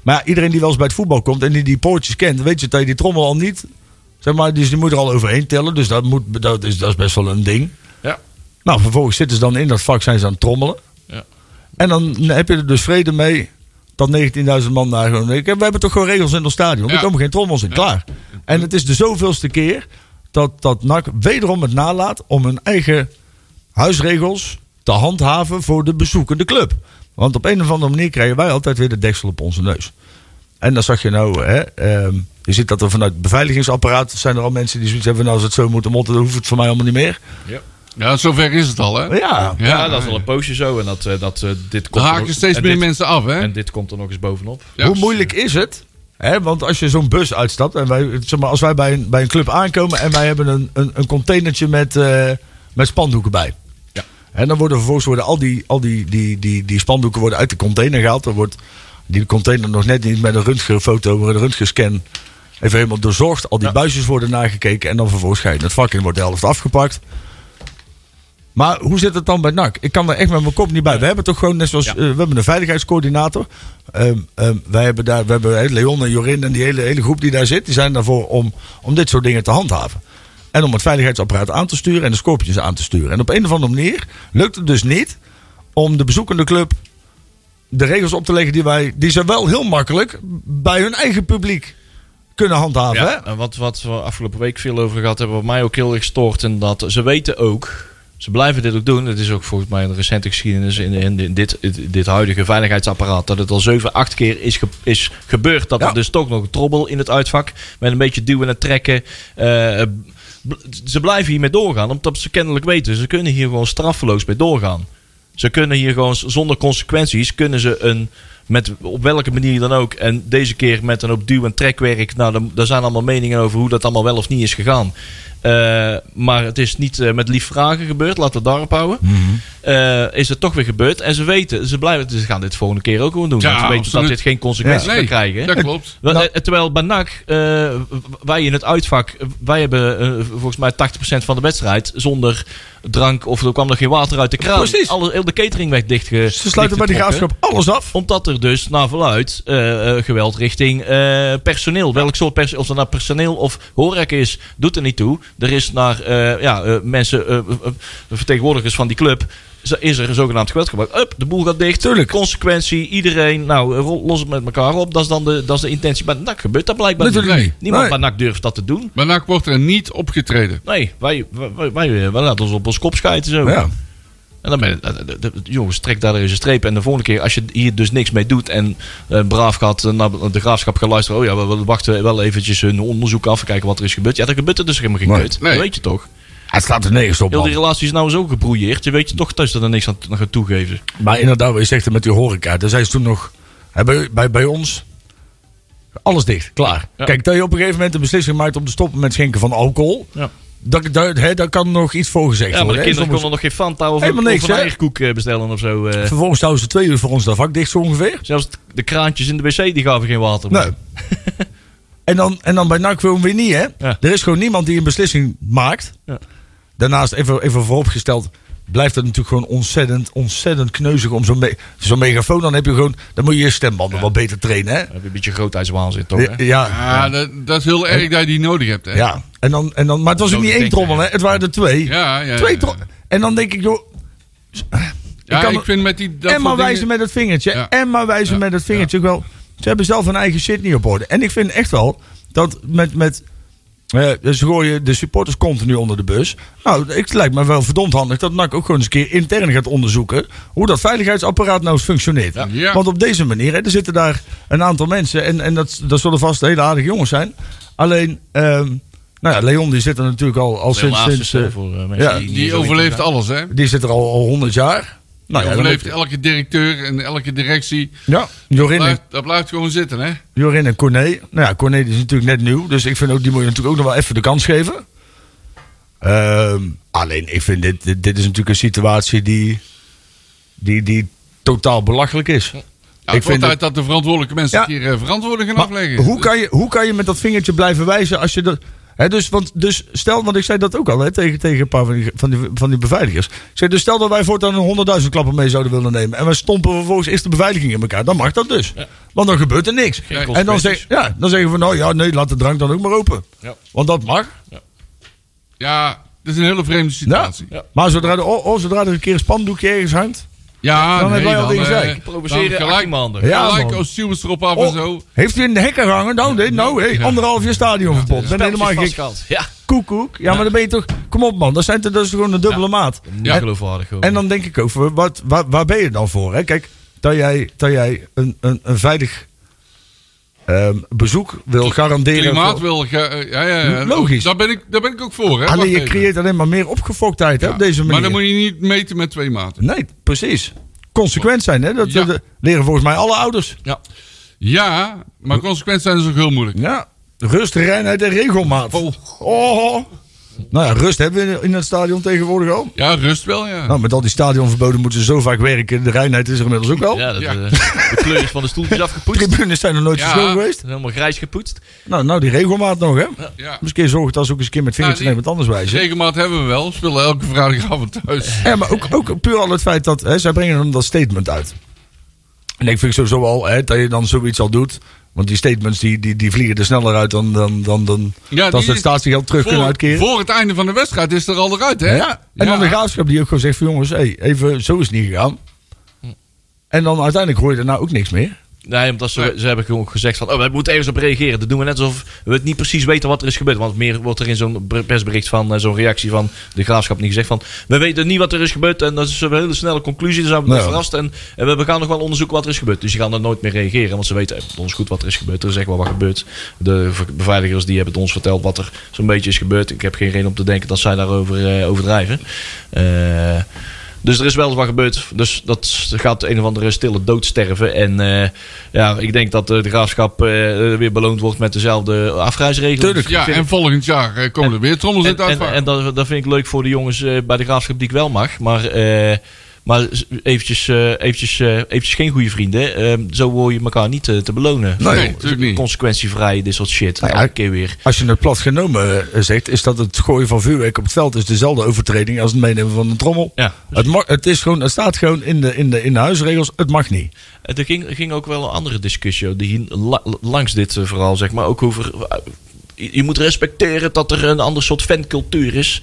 Maar ja, iedereen die wel eens bij het voetbal komt en die die poortjes kent, weet je dat je die trommel al niet. Zeg maar, dus die moet er al overheen tellen. Dus dat, moet, dat, is, dat is best wel een ding. Ja. Nou, vervolgens zitten ze dan in dat vak, zijn ze aan het trommelen. Ja. En dan heb je er dus vrede mee dat 19.000 man daar gewoon... Ik, we hebben toch gewoon regels in ons stadion. Ja. Er komen geen trommels in, klaar. En het is de zoveelste keer dat, dat NAC wederom het nalaat om hun eigen huisregels te handhaven voor de bezoekende club. Want op een of andere manier krijgen wij altijd weer de deksel op onze neus. En dan zag je nou, hè, ehm, je ziet dat er vanuit het beveiligingsapparaat zijn er al mensen die zoiets hebben. Nou, als het zo moet, dan moet het- dan hoeft het voor mij allemaal niet meer. Ja, zover is het al, hè? Maar ja, Ja, dat is al een poosje zo. En dat, eh, dat, eh, dit Er komt er haken nog- steeds en meer dit- mensen af, hè? En dit komt er nog eens bovenop. Ja. Hoe moeilijk is het? Hè, want als je zo'n bus uitstapt, en wij, zeg maar, als wij bij een, bij een club aankomen en wij hebben een, een, een containertje met, eh, met spandoeken bij. Ja. En dan worden vervolgens worden al, die, al die, die, die, die spandoeken worden uit de container gehaald. Dan wordt die container nog net niet met een röntgenfoto, maar een röntgenscan even helemaal doorzorgd. Al die buisjes worden nagekeken en dan vervolgens ga je in het vak in, wordt de helft afgepakt. Maar hoe zit het dan bij NAC? Ik kan er echt met mijn kop niet bij. We hebben toch gewoon, net zoals Ja. eh, we hebben een veiligheidscoördinator. Ehm, ehm, wij hebben daar, we hebben eh, Leon en Jorin en die hele, hele groep die daar zit, die zijn daarvoor om, om dit soort dingen te handhaven. En om het veiligheidsapparaat aan te sturen en de scorpions aan te sturen. En op een of andere manier lukt het dus niet om de bezoekende club de regels op te leggen die wij, die ze wel heel makkelijk bij hun eigen publiek kunnen handhaven. hè? En wat, wat we afgelopen week veel over gehad hebben, wat mij ook heel erg stoort. En dat ze weten ook, Ze blijven dit ook doen. Het is ook volgens mij een recente geschiedenis in, in dit, dit huidige veiligheidsapparaat. Dat het al 7, 8 keer is, ge- is gebeurd. Dat Ja. er dus toch nog een trobbel in het uitvak. Met een beetje duwen en trekken. Eh, bl- ze blijven hiermee doorgaan. Omdat ze kennelijk weten. Ze kunnen hier gewoon straffeloos mee doorgaan. Ze kunnen hier gewoon z- zonder consequenties. Kunnen ze een. Met, op welke manier dan ook. En deze keer met een op duw- en trekwerk. Nou, dan- daar zijn allemaal meningen over hoe dat allemaal wel of niet is gegaan. Eh, maar het is niet eh, met lief vragen gebeurd. Laten we het daarop houden. Mhm. Eh, is het toch weer gebeurd. En ze weten, ze, blijven, ze gaan dit volgende keer ook gewoon doen. Ja, want ze weten absoluut. dat dit geen consequenties Nee, kan krijgen. hè? dat klopt. Wel, Nou- eh, Terwijl bij NAC, eh, wij in het uitvak, eh, wij hebben eh, volgens mij 80% van de wedstrijd zonder drank of er kwam nog geen water uit de kraan. Precies. Alles, heel de catering werd dicht. Ze sluiten bij de graafschap alles af. Omdat er dus naar verluidt eh, eh, geweld richting eh, personeel. Welk soort personeel, of dat nou personeel of horeca is, doet er niet toe. Er is naar eh, ja, eh, mensen, eh, eh, vertegenwoordigers van die club, z- is er zogenaamd geweld gebruikt. Up, de boel gaat dicht. Tuurlijk. Consequentie, iedereen, nou, eh, ro- los het met elkaar op. Dat is dan de, dat is de intentie. Maar NAC gebeurt dat blijkbaar niet. Natuurlijk niet. Niemand Nee. bij NAC durft dat te doen. Maar NAC wordt er niet opgetreden. Nee, wij, wij, wij, wij- wij laten ons op ons kop schijten zo. Ja. En dan ben je, eh, de- de- de- jongens, trek daar eens een streep. En de volgende keer, als je hier dus niks mee doet en eh, braaf gaat eh, naar de graafschap gaan luisteren. Oh ja, we, we wachten wel eventjes hun onderzoek af. Kijken wat er is gebeurd. Ja, dan gebeurt er dus helemaal geen Nee. kut. Nee. Dat weet je toch. Het slaat er nergens op, Heel die man. relatie is nou zo gebroeierd. Je weet je toch thuis dat er niks aan, aan gaat toegeven. Maar inderdaad, wat je zegt het met die horeca. Daar zijn ze toen nog... hè, Bij, bij, bij ons... Alles dicht, klaar. Ja. Kijk, dat je op een gegeven moment een beslissing maakt om te stoppen met schenken van alcohol. Ja. Dat, dat, hè, daar kan nog iets voor gezegd Ja, maar worden. de hè. kinderen Sommige- konden nog geen Fanta of, Helemaal of niks, een hè? eierkoek eh, bestellen of zo. eh. Vervolgens houden ze twee uur voor ons dat vak dicht, zo ongeveer. Zelfs t- de kraantjes in de wc die gaven geen water meer. Nee. [laughs] en, dan, en dan bij NAC gewoon weer niet, hè? Ja. Er is gewoon niemand die een beslissing maakt. Ja. Daarnaast, even, even vooropgesteld, blijft het natuurlijk gewoon ontzettend, ontzettend kneuzig om zo'n me- zo'n megafoon. Dan heb je gewoon, dan moet je je stembanden wat beter trainen, hè? Dan heb je een beetje grootheidswaanzin toch? Hè? Ja. Ah, dat, dat is heel erg dat je die nodig hebt. Hè? ja. En dan, en dan, maar het was Zo ook niet die één denken, trommel, hè? Het waren er twee. Ja, ja, twee ja, ja. trommel. En dan denk ik, joh, Ja, Ik kan- ik vind met die... dat en maar soort dingen- wijzen met het vingertje. Ja. En maar wijzen Ja. met het vingertje. Ook wel, ze hebben zelf hun eigen shit niet op orde. En ik vind echt wel dat met. met eh, ze gooien de supporters continu onder de bus. Nou, ik- het lijkt me wel verdomd handig dat NAC ook gewoon eens een keer intern gaat onderzoeken. hoe dat veiligheidsapparaat nou eens functioneert. Ja. Want op deze manier, hè, er zitten daar een aantal mensen. en, en dat, dat zullen vast hele aardige jongens zijn. Alleen, ehm, nou ja, Leon die zit er natuurlijk al, al Heel sinds. laatste sinds stel eh, voor, eh, mensen ja, niet Die zo overleeft alles, hè? Die die zit er al al 100 jaar. Nou, ja, dan overleeft moet- elke directeur en elke directie. ja, Jorin en Blijft- dat blijft gewoon zitten, hè? Jorin en Corné. Nou ja, Corné die is natuurlijk net nieuw. Dus ik vind ook, die moet je natuurlijk ook nog wel even de kans geven. Ehm, alleen, ik vind dit, dit, dit is natuurlijk een situatie die, die, die totaal belachelijk is. Ja, het wordt het- tijd dat de verantwoordelijke mensen Ja. hier eh, verantwoording gaan maar afleggen. Hoe kan, je, hoe kan je met dat vingertje blijven wijzen als je dat... Hè, dus, want, dus stel, want ik zei dat ook al hè, tegen, tegen een paar van die, van die, van die beveiligers. Ik zei, dus stel dat wij voortaan een honderdduizend klappen mee zouden willen nemen. En wij stompen vervolgens eerst de beveiliging in elkaar. Dan mag dat dus. Want dan gebeurt er niks. En dan, zeg, consequenties. ja, dan zeggen we, nou ja, nee, laat de drank dan ook maar open. Ja. Want dat mag. Ja, het is een hele vreemde Ja. situatie. Ja, Maar zodra, de, oh, oh, zodra er een keer een spandoekje ergens hangt. nee, hebben wij al dingen eh, gezegd. Provoceren dan achttien maanden. Ja, gelijk man. als stewards erop af en Oh, zo. heeft u in de hekken hangen? Nou, nee, nou, hey, anderhalf jaar stadionverbod. ben helemaal Speltjes gek. vastgehaald. Ja, Koekoek. Ja, maar dan ben je toch... Kom op, man. Dat, zijn, te- dat is gewoon een dubbele maat. ja. En, geloofwaardig gewoon. en dan denk ik ook, voor wat, waar, waar ben je dan voor? Hè? Kijk, dat jij, dat jij een, een, een veilig ehm, bezoek wil garanderen... Klimaat voor- wil. ge- eh, ja, ja, ja. Logisch. Daar ben, ik, daar ben ik ook voor, hè? Alleen Wacht je even. creëert alleen maar meer opgefoktheid hè, Ja, op deze manier. Maar dan moet je niet meten met twee maten. Nee, precies. Consequent zijn, hè? Dat Ja. dat leren volgens mij alle ouders. ja. Ja, maar consequenties zijn dus ook heel moeilijk. Ja. Rust, reinheid en regelmaat. Oh. Nou ja, rust hebben we in- in het stadion tegenwoordig al. Ja, rust wel, ja. Nou, met al die stadionverboden moeten ze zo vaak werken. De reinheid is er inmiddels ook wel. Ja, dat, Ja. eh, de kleur is van de [laughs] stoeltjes afgepoetst. Het Tribunes zijn er nooit Ja. zo schoon geweest. is Helemaal grijs gepoetst. Nou, nou, die regelmaat nog, hè? ja. Misschien zorgt dat ze ook eens een keer met vingertje Nou, nemen wat anders wijzen. Regelmaat hebben we wel. We spelen elke vrijdagavond thuis. Ja, maar ook, ook puur al het feit dat hè, zij brengen dan dat statement uit. En ik vind sowieso al hè, dat je dan zoiets al doet. Want die statements die, die, die vliegen er sneller uit dan, dan, dan, dan Ja, dat die- ze het statiegeld terug kunnen uitkeren. voor het einde van de wedstrijd is er al eruit, hè? ja. En dan de graafschap die ook gewoon Hm. zegt van jongens, hey, even zo is het niet gegaan. En dan uiteindelijk hoor je daarna nou ook niks meer. Nee, omdat ze, Nee. ze hebben gewoon gezegd van... Oh, we moeten ergens op reageren. Dat doen we net alsof we het niet precies weten wat er is gebeurd. Want meer wordt er in zo'n ber- persbericht van... eh, zo'n reactie van de graafschap niet gezegd van... We weten niet wat er is gebeurd. En dat is een hele snelle conclusie. Dus zijn we Nou. verrast. En, en we gaan nog wel onderzoeken wat er is gebeurd. Dus die gaan er nooit meer reageren. Want ze weten eh, ons goed wat er is gebeurd. Er is echt wel wat gebeurd. De ver- beveiligers die hebben het ons verteld wat er zo'n beetje is gebeurd. Ik heb geen reden om te denken dat zij daarover eh, overdrijven. Eh... Dus er is wel eens wat gebeurd. Dus dat gaat een of andere stille dood sterven. En eh, ja, ik denk dat eh, de graafschap eh, weer beloond wordt met dezelfde afreisregeling. Tuurlijk. Ja, Ik vind- en volgend jaar eh, komen er weer trommels uit en, de en, uitvaart. en dat, dat vind ik leuk voor de jongens eh, bij de graafschap die ik wel mag. Maar, eh, maar s- eventjes, eh, eventjes, eh, eventjes geen goede vrienden. Eh, zo hoor je elkaar niet eh, te belonen. Nee, natuurlijk niet. Consequentievrij, dit soort shit. Nou ja, Elke keer weer. Als je het plat genomen eh, zegt, is dat het gooien van vuurwerk op het veld is dezelfde overtreding als het meenemen van een trommel. Ja, Het, mag, het, is gewoon, het staat gewoon in de, in, de, in de huisregels, het mag niet. Eh, Er ging, er ging ook wel een andere discussie die hier la- langs dit eh, verhaal, zeg maar, ook over. eh, je- je moet respecteren dat er een ander soort fancultuur is.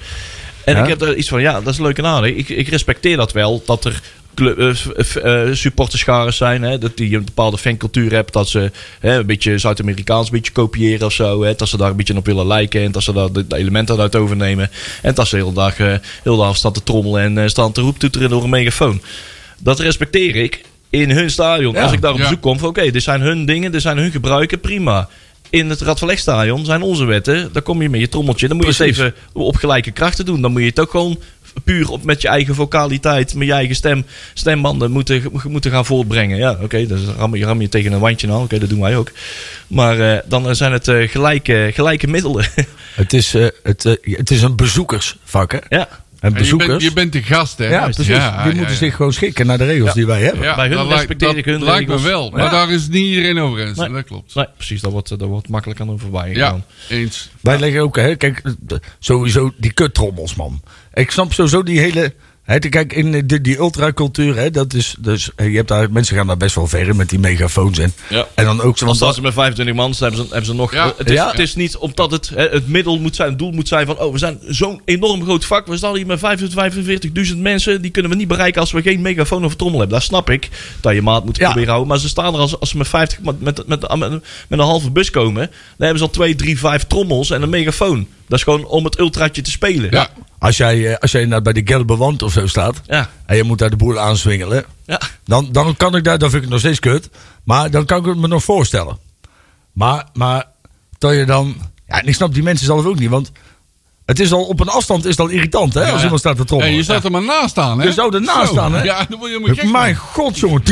En Ja. ik heb daar iets van, ja, dat is leuk en aardig. Ik, ik respecteer dat wel, dat er club, eh, f- f- eh, supporterscharen zijn. Hè, dat die een bepaalde fancultuur hebben. Dat ze hè, een beetje Zuid-Amerikaans een beetje kopiëren of zo. Hè, dat ze daar een beetje op willen lijken. En dat ze daar de, de elementen uit overnemen. En dat ze de hele dag, eh, heel de avond staan te trommelen en eh, staan te roeptoeteren door een megafoon. Dat respecteer ik in hun stadion. Ja. Als ik daar op Ja. bezoek kom, van oké, dit zijn hun dingen, dit zijn hun gebruiken, prima. In het Radverlegstadion zijn onze wetten. Daar kom je met je trommeltje. Dan moet Precies. je het even op gelijke krachten doen. Dan moet je het ook gewoon puur op, met je eigen vocaliteit, met je eigen stem, stembanden moeten, moeten gaan voortbrengen. Ja, oké, dus dan ram, je- ram je tegen een wandje aan. Oké, dat doen wij ook. Maar eh, dan zijn het eh, gelijke, gelijke middelen. [laughs] Het is, eh, het, eh, het is een bezoekersvak, hè? ja. En En je, bent, bezoekers. je bent de gast, hè? ja, precies. Ja, die ja, moeten ja. zich gewoon schikken naar de regels die wij hebben. Ja, Bij hun dat lijkt- respecteer dat ik hun lijkt me regels. wel, maar Ja. daar is niet iedereen over eens. Nee. Dat klopt. Nee, precies, dat wordt, dat wordt makkelijk aan hun voorbij Ja, gegaan. eens. Wij leggen ook, hè, kijk, d- sowieso die kuttrommels, man. Ik snap sowieso die hele. Hè, te- kijk, in eh, die, die ultracultuur, hè, dat is. Dus, eh, je hebt daar, mensen gaan daar best wel ver in met die megafoons en. Ja. En dan ook zo. Want Want als dat, ze met 25 man zijn, hebben ze, hebben ze nog. Ja. Het, is, Ja. het is niet omdat het hè, het middel moet zijn, het doel moet zijn van. Oh, we zijn zo'n enorm groot vak. We staan hier met 45.000 mensen. Die kunnen we niet bereiken als we geen megafoon of trommel hebben. Daar snap ik dat je maat moet Ja. proberen houden. Maar ze staan er als, als ze met 50 man- met, met, met, met een halve bus komen. Dan hebben ze al 2, 3, 5 trommels en een megafoon. Dat is gewoon om het ultraatje te spelen. Ja, als jij, eh, als jij inderdaad bij de Gelbe Wand of zo staat. Ja. En je moet daar de boel aanswingelen. Ja. Dan, dan kan ik daar, dan vind ik het nog steeds kut. Maar dan kan ik het me nog voorstellen. Maar, maar dat je dan. Ja, en ik snap die mensen zelf ook niet. Want het is al op een afstand is dat irritant, hè? als ja. iemand staat te trommelen. Hey, je staat er maar naast staan, hè? Je zou ernaast Zo. staan, hè? Ja, dan word je helemaal gek. Mijn van. god, jongen.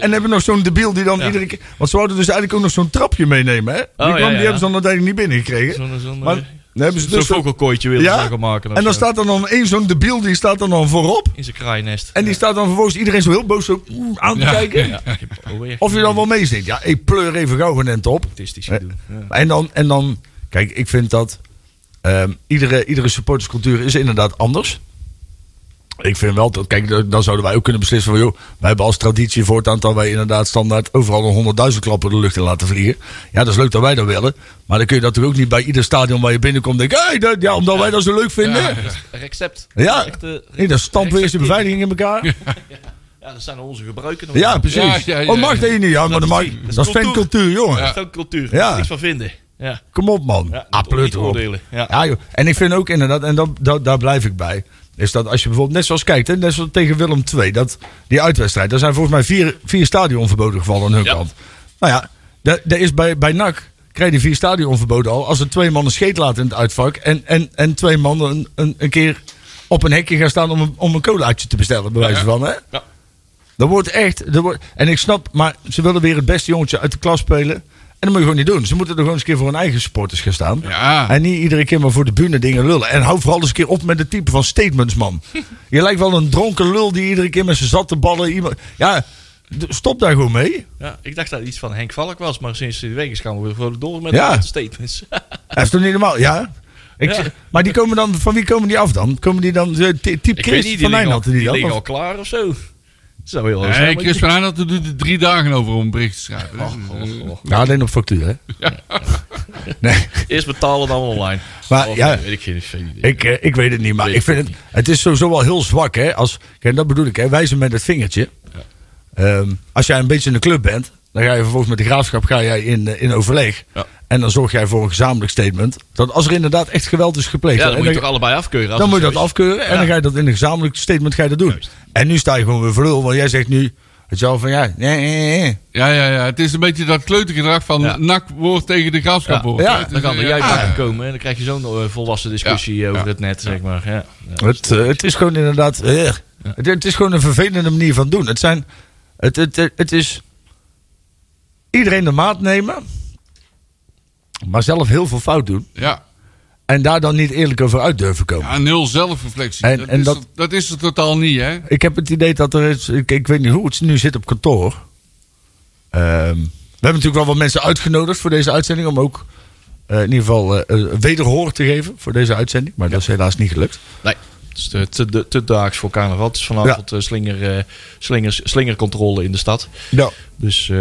En hebben nog zo'n debiel die dan iedere keer... Want ze wouden dus eigenlijk ook nog zo'n trapje meenemen, hè? Die, Oh, kwam, ja, die ja, ja. hebben ze dan uiteindelijk niet binnengekregen. Zo'n- zo'n, maar eh, dan hebben ze Zo'n dus... vogelkooitje willen ze gaan maken. of en dan zo. staat er dan één zo'n debiel, die staat er dan voorop. In zijn kraaiennest. En die staat dan vervolgens iedereen zo heel boos zo mm, aan te Ja, kijken. Ja, ik heb alweer Of je dan wel meezingt. Ja, ik pleur even gauw een end op. autistisch gedoe. Ja. En dan, en dan, kijk, ik vind dat ehm, iedere, iedere supporterscultuur is inderdaad anders. Ik vind wel dat, kijk, dan dan zouden wij ook kunnen beslissen van, joh, wij hebben als traditie voortaan dat wij inderdaad standaard overal een honderdduizend klappen de lucht in laten vliegen. Ja, dat is leuk dat wij dat willen, maar dan kun je dat toch ook niet bij ieder stadion waar je binnenkomt denken, hey, dat, ja, omdat wij dat zo leuk vinden. Ja, Recept. Echt, eh, nee, dan stampen we eerst de rechtstreeks- beveiliging in elkaar. Ja, dat zijn onze gebruiken. Ja, precies. Ja, ja, ja, oh, mag dat hier niet? Ja, maar dat, mag, is- dat is dat is cultuur. fancultuur, jongen. Dat is ook cultuur. Ja. Daar is niks van vinden. Ja. Kom op, man. Ja, ah, niet- pleut niet erop. oordelen, ja. joh. En ik vind ook inderdaad, en dat, dat, daar blijf ik bij. Is dat als je bijvoorbeeld, net zoals kijkt, hè, net zoals tegen Willem II, dat, die uitwedstrijd. Daar zijn volgens mij vier, vier stadionverboden gevallen aan hun Ja. kant. Nou ja, daar daar is bij, bij NAC krijg je die vier stadionverboden al. Als er twee mannen scheet laten in het uitvak en, en, en twee mannen een, een, een keer op een hekje gaan staan om een, om een colaatje te bestellen, bij wijze van. Hè? Ja. Dat wordt echt. Dat wordt, en ik snap, maar ze willen weer het beste jongetje uit de klas spelen. En dat moet je gewoon niet doen. Ze moeten er gewoon eens een keer voor hun eigen supporters gaan staan. Ja. En niet iedere keer maar voor de bühne dingen lullen. En hou vooral eens een keer op met het type van statements, [laughs] man. je lijkt wel een dronken lul die iedere keer met zijn zatte ballen. Iemand, ja, d- stop daar gewoon mee. Ja, ik dacht dat het iets van Henk Valk was, maar sinds de week is gaan we gewoon door met Ja. de statements. [laughs] Dat is toch niet normaal? Ja. Ik, Ja. Maar die komen dan, van wie komen die af dan? Komen die dan, eh, ty- type ik weet Chris niet, van die, liggen Nijland al, die, die dan? liggen Of- al klaar of zo. Dat zou heel Nee, Chris van Aanholt doet er drie dagen over om een bericht te schrijven. Oh, Ja, alleen op factuur, hè? Nee. Eerst betalen, dan online. Maar Of, ja. eh, weet ik geen, geen idee. Ik, eh, ik weet het niet, maar ik vind het, het is sowieso wel heel zwak. Hè? Als, kijk, dat bedoel ik, hè? wijzen met het vingertje. Ehm, als jij een beetje in de club bent, dan ga je vervolgens met de graafschap ga jij in, eh, in overleg. Ja. En dan zorg jij voor een gezamenlijk statement. Dat als er inderdaad echt geweld is gepleegd. Ja, dan en moet je dan- toch allebei afkeuren. als dan moet het je dat zo is. afkeuren en Ja. dan ga je dat in een gezamenlijk statement ga je dat doen. Juist. En nu sta je gewoon weer voor lul, want jij zegt nu, het is al van ja, nee, nee, nee. Ja, ja, ja. Het is een beetje dat kleutergedrag van Ja. NAC woord tegen de graafschap Ja. hoort. Ja, Het is, Dan kan eh, er jij ja. bij komen en dan krijg je zo'n eh, volwassen discussie Ja. over Ja. het net, zeg maar. Ja. Ja. Het, eh, het is gewoon inderdaad, eh, het, het is gewoon een vervelende manier van doen. Het zijn, het, het, het, het is iedereen de maat nemen, maar zelf heel veel fout doen. Ja. En daar dan niet eerlijk over uit durven komen. Ja, nul zelfreflectie. En- dat, en is dat- er, dat is er totaal niet, hè? Ik heb het idee dat er is. Ik, ik weet niet hoe het nu zit op kantoor. Ehm, we hebben natuurlijk wel wat mensen uitgenodigd voor deze uitzending. Om ook eh, in ieder geval eh, eh, wederhoor te geven voor deze uitzending. Maar dat is helaas niet gelukt. Nee, het is te, te, te, te daags voor carnaval. Het is vanavond eh, slinger, eh, slingers, slingercontrole in de stad. Ja. Dus eh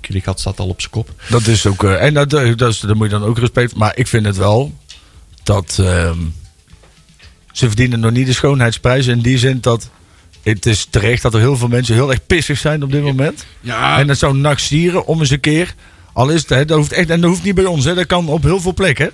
Kilikat staat al op zijn kop. Dat is ook. eh, en dat, eh, dat is, daar moet je dan ook respect voor. Maar ik vind het wel dat. ehm, ze verdienen nog niet de schoonheidsprijs. In die zin dat. Het is terecht dat er heel veel mensen heel erg pissig zijn op dit moment. Ja. En dat zou NAC sieren om eens een keer. Al is het, hè, dat hoeft echt, en dat hoeft niet bij ons, hè, dat kan op heel veel plekken.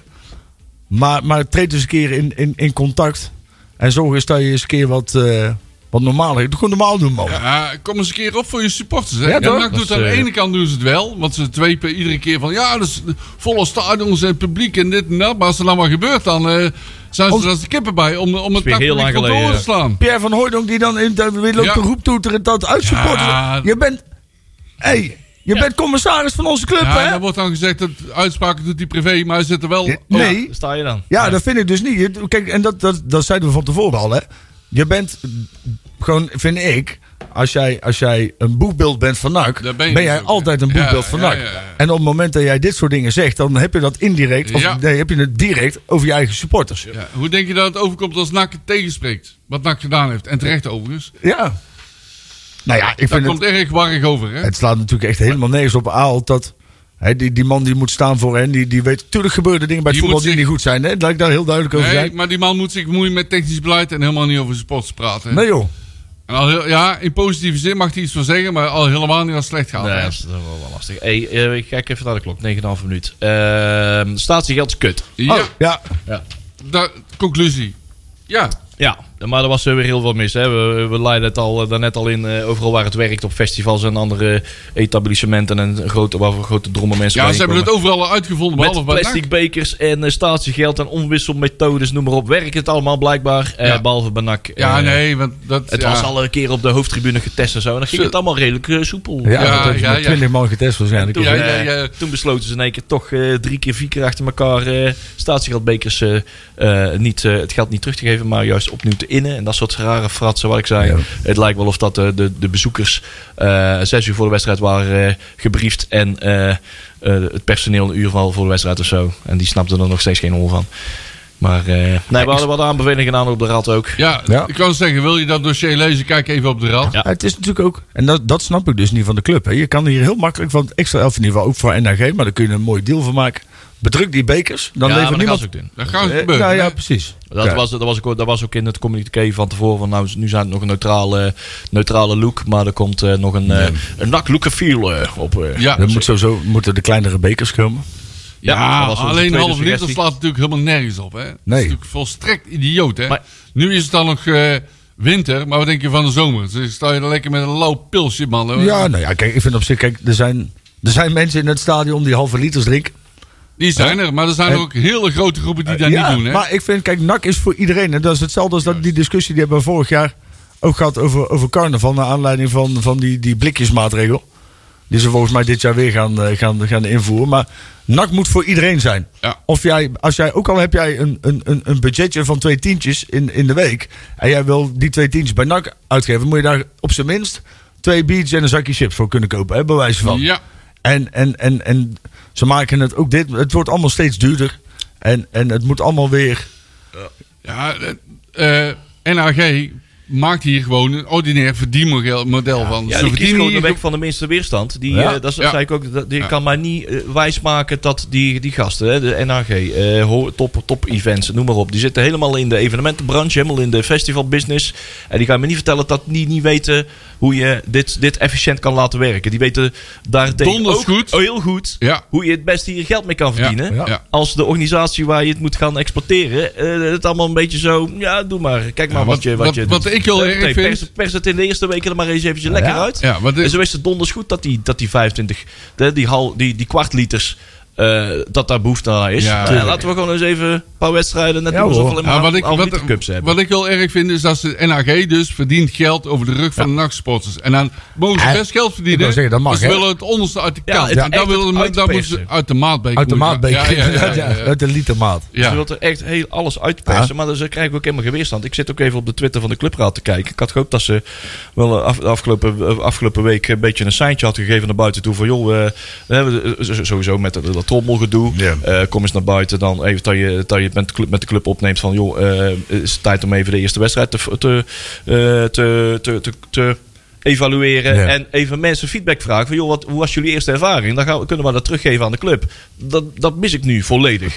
Maar, maar treed eens een keer in, in, in contact. En zorg eens dat je eens een keer wat, eh wat normaler. Doe gewoon normaal doen, man. Ja, kom eens een keer op voor je supporters. Hè? Ja, toch? NAC doet Dat aan is, de eh, ene kant doen ze het wel. Want ze tweepen iedere keer van... Ja, dat is volle stadions en publiek en dit en dat. Maar als er nou maar gebeurt, dan eh, zijn ze Ons- er als de kippen bij. Om, om het weer heel lang NAC-publiek van geleden, door te ja. slaan. Pierre van Hooydonk die dan in, weer loopt Ja. te roeptoeteren dat uitsupporters. Ja. Je bent... hey, je bent commissaris van onze club, Ja, hè? en dan wordt dan gezegd dat uitspraken doet hij privé. Maar hij zit er wel... Ja, Oh, Nee. Daar sta je dan. Ja, dat vind ik dus niet. Je- Kijk, en dat, dat, dat zeiden we van tevoren al, hè. Je bent gewoon, vind ik... Als jij, als jij een boekbeeld bent van NAC, ben, Daar ben je jij natuurlijk, altijd hè. een boekbeeld Ja, van ja, NAC. ja, ja. En op het moment dat jij dit soort dingen zegt, dan heb je dat indirect, of Ja. nee, heb je het direct over je eigen supporters. Ja, hoe denk je dat het overkomt als NAC het tegenspreekt? Wat NAC gedaan heeft. En terecht overigens. Ja. Nou ja, ik Daar vind het... komt erg warrig over, hè? Het slaat natuurlijk echt helemaal nergens op aal dat. Hè, die, die man die moet staan voor hen, die, die weet. Tuurlijk gebeuren er dingen bij het Die voetbal moet die zich- niet goed zijn. Hè? Laat ik daar heel duidelijk over Nee, zijn. maar die man moet zich bemoeien met technisch beleid en helemaal niet over sports praten. hè? Nee, joh. En al heel- ja, in positieve zin mag hij iets van zeggen, maar al helemaal niet als slecht gaat. Nee, hè? dat is wel wel lastig. Hey, eh, ik kijk even naar de klok. 9,5 minuut. Ehm statiegeld is kut. Ja, Oh, ja. Ja. da- conclusie. Ja, Ja, maar er was eh, weer heel veel mis. Hè. We, we leiden het al, eh, daarnet al in, eh, overal waar het werkt, op festivals en andere etablissementen en grote, waar voor grote drommen mensen ja ze bijeen hebben het komen. overal uitgevonden, behalve Met bij plastic NAC. bekers en eh, statiegeld en omwisselmethodes, noem maar op, werkt het allemaal blijkbaar. eh, Ja. Behalve bij NAC. Ja, Eh, nee, want dat... Het ja. was al een keer op de hoofdtribune getest en zo. En dan ging Zo. het allemaal redelijk eh, soepel. Ja, Ja, dat hebben ze ja, met ja. 20 man getest waarschijnlijk. Toen, Ja, ja, eh, ja. toen besloten ze in één keer toch eh, drie keer, vier keer achter elkaar eh statiegeldbekers eh, eh, niet, eh, het geld niet terug te geven, maar juist opnieuw te innen. En dat soort rare fratsen wat ik zei. Ja. Het lijkt wel of dat eh, de, de bezoekers eh, zes uur voor de wedstrijd waren eh, gebriefd en eh, eh, het personeel een uur van voor de wedstrijd of zo. En die snapten er nog steeds geen hol van. Maar eh, nee, we hadden wat aanbevelingen gedaan op de rad ook. Ja, Ja. ik kan zeggen, wil je dat dossier lezen, kijk even op de rad. Ja, Het is natuurlijk ook, en dat, dat snap ik dus niet van de club. Hè. Je kan hier heel makkelijk van het extra elf in ieder geval ook voor NAG, maar daar kun je een mooi deal van maken. Bedruk die bekers, dan ja, maar levert dat gaan niemand. ze ook doen. Dat gaat Eh, gebeuren. nou ja, hè? precies. Dat, Ja. was, dat, was ook, dat was ook in het communiqué van tevoren. Van, nou, nu zijn het nog een neutrale, neutrale look. Maar er komt eh, nog een, eh een nak look and feel eh, op. eh. Ja, Dan moet sowieso moeten de kleinere bekers komen. Ja, Ja, dat was onze alleen een tweede half liter suggestie. slaat natuurlijk helemaal nergens op. Hè? Dat Nee. is natuurlijk volstrekt idioot. Hè? Maar- Nu is het dan nog eh, winter, maar wat denk je van de zomer? Dus sta je dan lekker met een lauw pilsje, man. hoor. Ja, nou ja, kijk, ik vind op zich, kijk, er zijn, er zijn mensen in het stadion die halve liters drinken. Die zijn er, maar er zijn En- ook hele grote groepen die dat niet doen. Hè? Eh, Maar ik vind, kijk, NAC is voor iedereen. En dat is hetzelfde als dat, die discussie die hebben we vorig jaar ook gehad over, over carnaval. Naar aanleiding van, van die, die blikjesmaatregel. Die ze volgens mij dit jaar weer gaan, eh, gaan, gaan invoeren. Maar NAC moet voor iedereen zijn. Ja. Of jij, als jij, ook al heb jij een, een, een, een budgetje van twee tientjes in, in de week. En jij wil die twee tientjes bij NAC uitgeven. Moet je daar op zijn minst twee biertjes en een zakje chips voor kunnen kopen. Hè, bij wijze van. Ja. En, en, en, en ze maken het ook dit. Het wordt allemaal steeds duurder. En, en het moet allemaal weer. Ja, eh, eh, NAG maakt hier gewoon een ordinair verdienmodel model van. Ja, Ze die is verdienen gewoon de hier weg van de minste weerstand. Die, Ja. eh, dat is- Ja. zei ik ook. dat- Die Ja. kan mij niet eh, wijsmaken dat die, die gasten, hè, de NAG, eh, ho- top, top events, noem maar op. Die zitten helemaal in de evenementenbranche, helemaal in de festivalbusiness. En die gaan me niet vertellen dat die niet weten hoe je dit, dit efficiënt kan laten werken. Die weten daartegen Donders ook goed. heel goed Ja. hoe je het beste hier geld mee kan Ja. verdienen. Ja. Ja. Als de organisatie waar je het moet gaan exporteren, eh, het allemaal een beetje zo, ja, doe maar. Kijk maar Ja, wat, wat- je, wat, wat- je wat doet. ik heel Eh, erg nee, vind- pers- pers het in de eerste weken er maar eens eventjes lekker uit. Ja, want dit- en zo is het donders goed dat die, dat die 25, de- die, hal, die, die kwartliters, eh, dat daar behoefte aan is. Ja, Eh, tuurlijk. laten we gewoon eens even een paar wedstrijden net Ja, doen alsof we hoor. alleen maar Ja, wat, ik, half wat, liter cups hebben. wat ik heel erg vind is dat de NAG dus verdient geld over de rug van de nachtsporters. En dan mogen ze Ja, best geld ik verdienen. wou zeggen, dat mag, dus ze hè? willen het onderste uit de Ja, kant. het en dan echt willen het ze- dan moeten ze uitpersen. uit de maatbeker. Uit de moeten gaan. maatbeker. Ja, [laughs] ja, ja, ja, ja. Uit de litermaat. Ja. Ze wil er echt heel alles uitpersen, maar dan krijgen we ook helemaal geen weerstand. Ik zit ook even op de Twitter van de clubraad te kijken. Ik had gehoopt dat ze wel eh, af, de afgelopen, eh, afgelopen week een beetje een seintje had gegeven naar buiten toe. Van joh, eh, we hebben eh, zo- sowieso met dat, dat trommelgedoe. Ja. Eh, kom eens naar buiten dan even dat je, dat je met, de club, met de club opneemt van joh, eh, is het tijd om even de eerste wedstrijd te, te, eh, te, te, te, te evalueren Ja. en even mensen feedback vragen van joh, wat, hoe was jullie eerste ervaring? Dan gaan we, kunnen we dat teruggeven aan de club. Dat, dat mis ik nu volledig.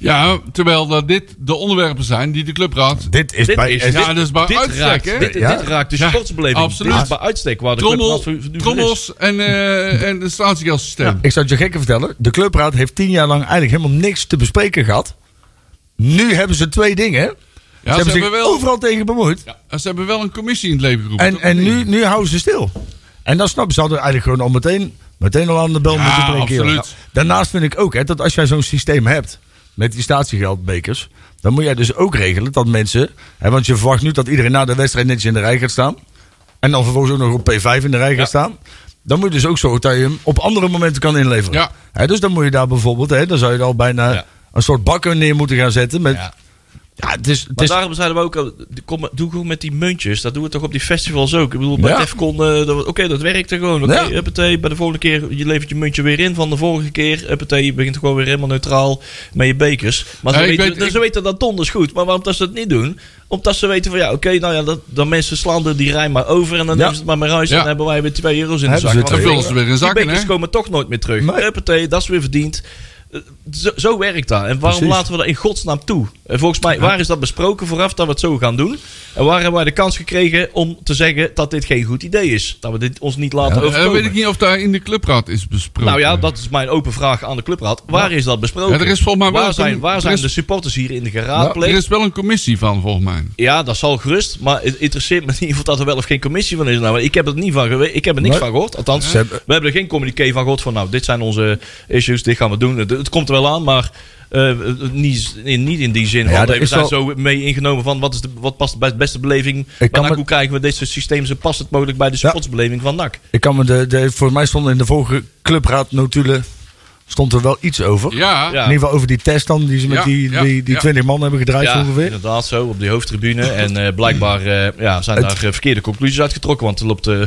Ja, terwijl dat dit de onderwerpen zijn die de clubraad... Dit is Dit bij... is- eh, Ja, dat is bij dit uitstek, raakt, hè? Dit, Ja. dit raakt de Ja, sportsbeleving. absoluut. Dit is bij uitstek waar de Trommel, club van- van- van is. trommels en, eh en het statiegeldsysteem. Ik zou het je gekken vertellen. De clubraad heeft tien jaar lang eigenlijk helemaal niks te bespreken gehad. Nu hebben ze twee dingen. hè? ze hebben zich wel- overal tegen bemoeid. Ja. Ze hebben wel een commissie in het leven geroepen. En, toch? en nu, nu houden ze stil. En dat snap ze hadden eigenlijk gewoon al meteen, meteen al aan de bel Ja, moeten breken. joh. Nou, absoluut. Daarnaast vind ik ook hè, dat als jij zo'n systeem hebt met die statiegeldbekers, dan moet jij dus ook regelen dat mensen. Hè, want je verwacht nu dat iedereen na de wedstrijd netjes in de rij gaat staan. En dan vervolgens ook nog op P5 in de rij gaat staan. Dan moet je dus ook zorgen dat je hem op andere momenten kan inleveren. Ja. Hè, dus dan moet je daar bijvoorbeeld, hè, dan zou je al bijna Ja. een soort bakken neer moeten gaan zetten. Met, ja. het is, het Maar Dus- is, daarom zeiden we ook, al, kom, doe gewoon met die muntjes. Dat doen we toch op die festivals ook. Ik bedoel, bij Ja. Defcon, eh, dat- oké, dat werkte gewoon. Oké, Ja. huppatee, bij de volgende keer, je levert je muntje weer in van de vorige keer. Huppatee, je begint gewoon weer helemaal neutraal met je bekers. Maar ze, Nee, ik weten, weet- ik- ze weten dat donders goed. Maar waarom dat ze dat niet doen? Omdat ze weten van, ja, oké, nou ja, dat, dan mensen slaan er die rij maar over. En Ja. dan nemen ze het maar maar uit. En Ja. dan hebben wij weer 2 euro's in de Hebben zak. ze Want Dan twee die vullen ze weer in Die zakken, bekers hè? komen toch nooit meer terug. Nee. Huppatee, dat is weer verdiend. Eh, Zo, zo werkt dat. En waarom Precies. laten we dat in godsnaam toe? En volgens mij, waar is dat besproken vooraf dat we het zo gaan doen? En waar hebben wij de kans gekregen om te zeggen dat dit geen goed idee is? Dat we dit ons niet laten Eh, overkomen. weet ik niet of daar in de clubraad is besproken. nou ja, dat is mijn open vraag aan de clubraad. Waar is dat besproken? Ja, er is volgens mij wel waar een- zijn, waar er zijn is- de supporters hier in de er geraadpleegd? is wel een commissie van, volgens mij. Ja, dat zal gerust. Maar het interesseert me [laughs] niet of dat er wel of geen commissie van is. Nou, maar ik heb er, niet van gewe- ik heb er niks Nee. van gehoord. Althans, Ze hebben- we hebben er geen communiqué van gehoord. Van nou, dit zijn onze issues, dit gaan we doen. Het, het komt er wel aan, maar eh, niet, in, niet in die zin. Ja, want er we is zijn wel- zo mee ingenomen van wat, is de, wat past bij de beste beleving. kan Maar me- hoe kijken we dit soort systemen? Zo past het mogelijk bij de Ja. sportsbeleving van NAC? Ik kan me de, de, voor mij stond in de vorige clubraad notulen stond er wel iets over. Ja, Ja. In ieder geval over die test dan die ze met Ja, die, ja, die, die ja. 20 man hebben gedraaid zo ongeveer. inderdaad zo, op die hoofdtribune. [laughs] En eh, blijkbaar eh, ja, zijn Het- daar eh, verkeerde conclusies uitgetrokken. Want er loopt eh,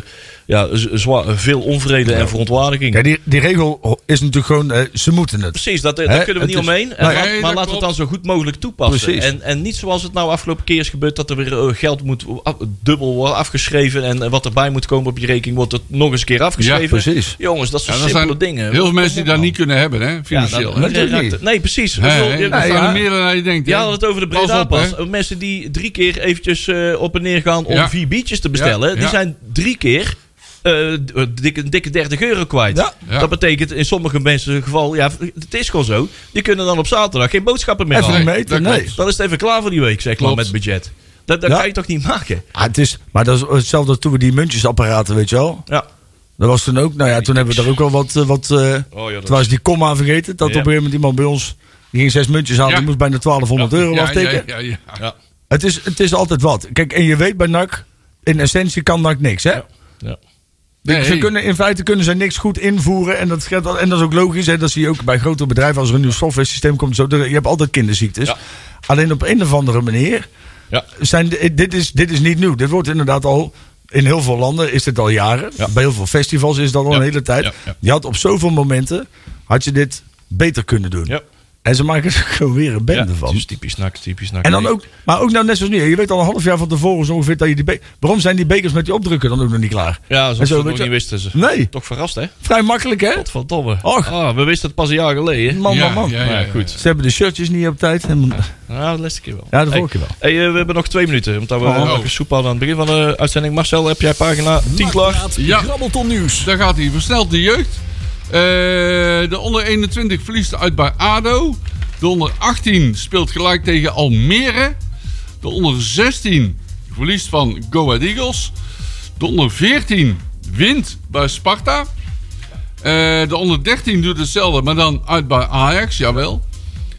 ja, z- zwaar, veel onvrede en verontwaardiging. Ja, die, die regel is natuurlijk gewoon, eh, ze moeten het. Precies, dat, eh, daar Hè, kunnen we het niet is- omheen. En Nou, Nee, laat- maar dat laten we het klopt. dan zo goed mogelijk toepassen. Precies. En, en niet zoals het nou afgelopen keer is gebeurd... dat er weer eh, geld moet af- dubbel worden afgeschreven... en eh, wat erbij moet komen op je rekening... wordt het nog eens een keer afgeschreven. Ja, precies. Jongens, dat Ja, zijn er simpele zijn dingen. Heel veel mensen die dat niet kunnen hebben, hè, Ja, financieel. dat- hè. Natuurlijk raakt- niet. nee, precies. Ik Nee, bedoel, hè, je- er Nee, staan ja. er meer dan je denkt. je hè. had het over de Pas Breda op, hè. Pas. Mensen die drie keer eventjes eh, op en neer gaan om Ja. vier biertjes te bestellen, Ja, die ja. zijn drie keer eh, d- eh, dikke, dikke 30 euro kwijt. Ja. Ja. Dat betekent in sommige mensen het geval, ja, het is gewoon zo. Die kunnen dan op zaterdag geen boodschappen meer Even halen. niet nee, meten, dat nee. klopt. Dan is het even klaar voor die week, zeg maar, Klopt. met budget. Dat, dat Ja. kan je toch niet maken? Ah, het is, maar dat is hetzelfde als toen we die muntjesapparaten, weet je wel. Ja. Dat was toen ook, nou ja, toen hebben we daar ook wel wat, eh, wat eh, Oh, ja, dat- toen was die komma vergeten. Dat Ja. op een gegeven moment iemand bij ons, die ging zes muntjes halen, Ja. die moest bijna 1200 euro Ja, afteken. ja, ja, ja. Ja. Het, is, het is altijd wat. Kijk, en je weet bij NAC, in essentie kan NAC niks, hè? Ja. Nee. Ze kunnen, in feite kunnen ze niks goed invoeren. En dat, geldt al- en dat is ook logisch. Hè? Dat zie je ook bij grote bedrijven. Als er een nieuw software systeem komt. Zo, er- je hebt altijd kinderziektes. Ja. Alleen op een of andere manier. Ja. Zijn, de- eh, dit, is, dit is niet nieuw. Dit wordt inderdaad al... In heel veel landen is dit al jaren. Bij heel veel festivals is dat al Ja. een hele tijd. Ja, ja. Je had op zoveel momenten... had je dit beter kunnen doen. Ja. En ze maken [laughs] er gewoon weer een bende van. dus typisch nak, typisch nak. En dan Nee. ook, maar ook nou net zoals nu. Je weet al een half jaar van tevoren zo ongeveer dat je die be- Waarom zijn die bekers met die opdrukken dan ook nog niet klaar? Ja, En zoals zo, ze weet het nog je- niet wisten ze. Nee, Toch verrast, hè? vrij makkelijk hè? Godverdomme. Och. Ah, we wisten het pas een jaar geleden. Man, ja, man, man. Ja, ja, Maar ja. goed. Ze hebben de shirtjes niet op tijd. En, Nou, de laatste keer wel. ja, de Hey, vorige keer wel. hey, eh, we hebben nog twee minuten, want dat we Oh. nog even soep hadden aan het begin van de uitzending. Marcel, heb jij pagina 10 klaar? Nakpraat, Ja. Grabbelton nieuws. Daar gaat hij. Versnelt de jeugd. Eh, de onder 21 verliest uit bij ADO. De onder 18 speelt gelijk tegen Almere. De onder 16 verliest van Go Ahead Eagles. De onder 14 wint bij Sparta. Eh, de onder 13 doet hetzelfde, maar dan uit bij Ajax, jawel.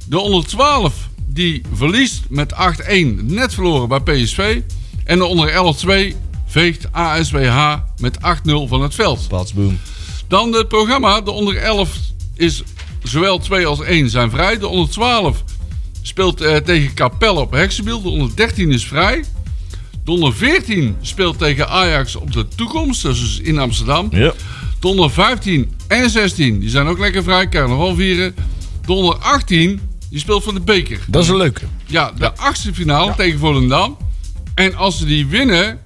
De onder 12 die verliest met 8-1 net verloren bij PSV. En de onder 11-2 veegt ASWH met 8-0 van het veld. Plaatsboom. Dan het programma. De onder 11 is zowel 2 als 1 zijn vrij. De onder 12 speelt eh, tegen Capelle op Heksenbiel. De onder 13 is vrij. De onder 14 speelt tegen Ajax op de toekomst. Dat is dus in Amsterdam. Ja. De onder 15 en 16 die zijn ook lekker vrij. Carnaval vieren. De onder 18 die speelt van de beker. Dat is een leuke. Ja, de achtste finale tegen Volendam. En als ze die winnen,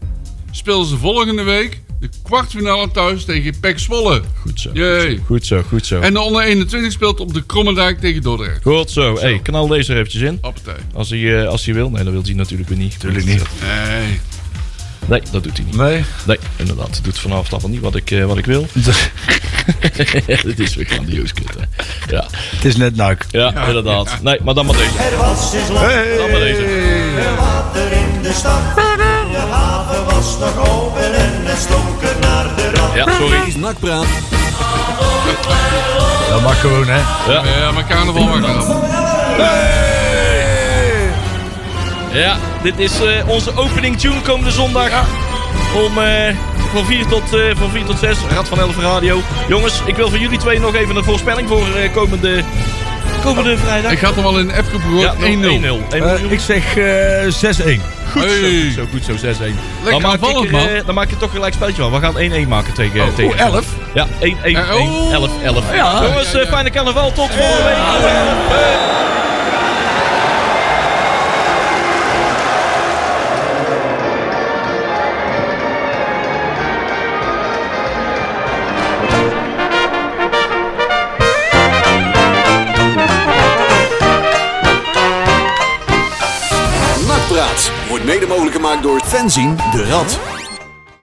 spelen ze volgende week de kwartfinale thuis tegen PEC Zwolle. Goed zo. Jee. Goed zo, goed zo. En de onder 21 speelt op de Krommendijk tegen Dordrecht. Goed zo. Hey, knal deze er eventjes in. Appetij. Als hij, eh, als hij wil. Nee, dat wil hij natuurlijk weer niet. Tuurlijk niet. Nee. Nee, dat doet hij niet. Nee. Nee, inderdaad. Het doet vanaf allemaal niet wat ik, eh, wat ik [laughs] wil. Dit is weer grandioos kut, hè. Ja, Het is net nak. ja, inderdaad. Nee, maar dan maar deze. Er was eens lang Dan maar deze. water in de stad. De haven was nog open en het stonk er naar de rat. Ja, sorry. Nakpraat, Dat mag gewoon hè. Ja, maar carnaval mag wel. Ja, dit is eh, onze opening tune komende zondag. Om eh, van, 4 tot, eh, van 4 tot 6, Rad van Elf Radio. Jongens, ik wil van jullie twee nog even een voorspelling voor eh, komende, komende vrijdag. Ik had hem al in de appgroep ja, gehoord. 1-0. 1-0. Hey, Eh, ik zeg eh 6-1. Goed Hey. zo, goed zo, goed zo, 6-1. Lekker maak aanvallend, ik er, eh, man. Dan maak je toch gelijk spelletje van. We gaan 1-1 maken tegen... Oh, tegen oh, 11? Ja, 1-1, 1 Eh, oh. 11, 11. Jongens, Ja, ja, ja. eh, fijne carnaval. Tot volgende week. Nakpraat wordt mede mogelijk gemaakt door Fenzin de Rad.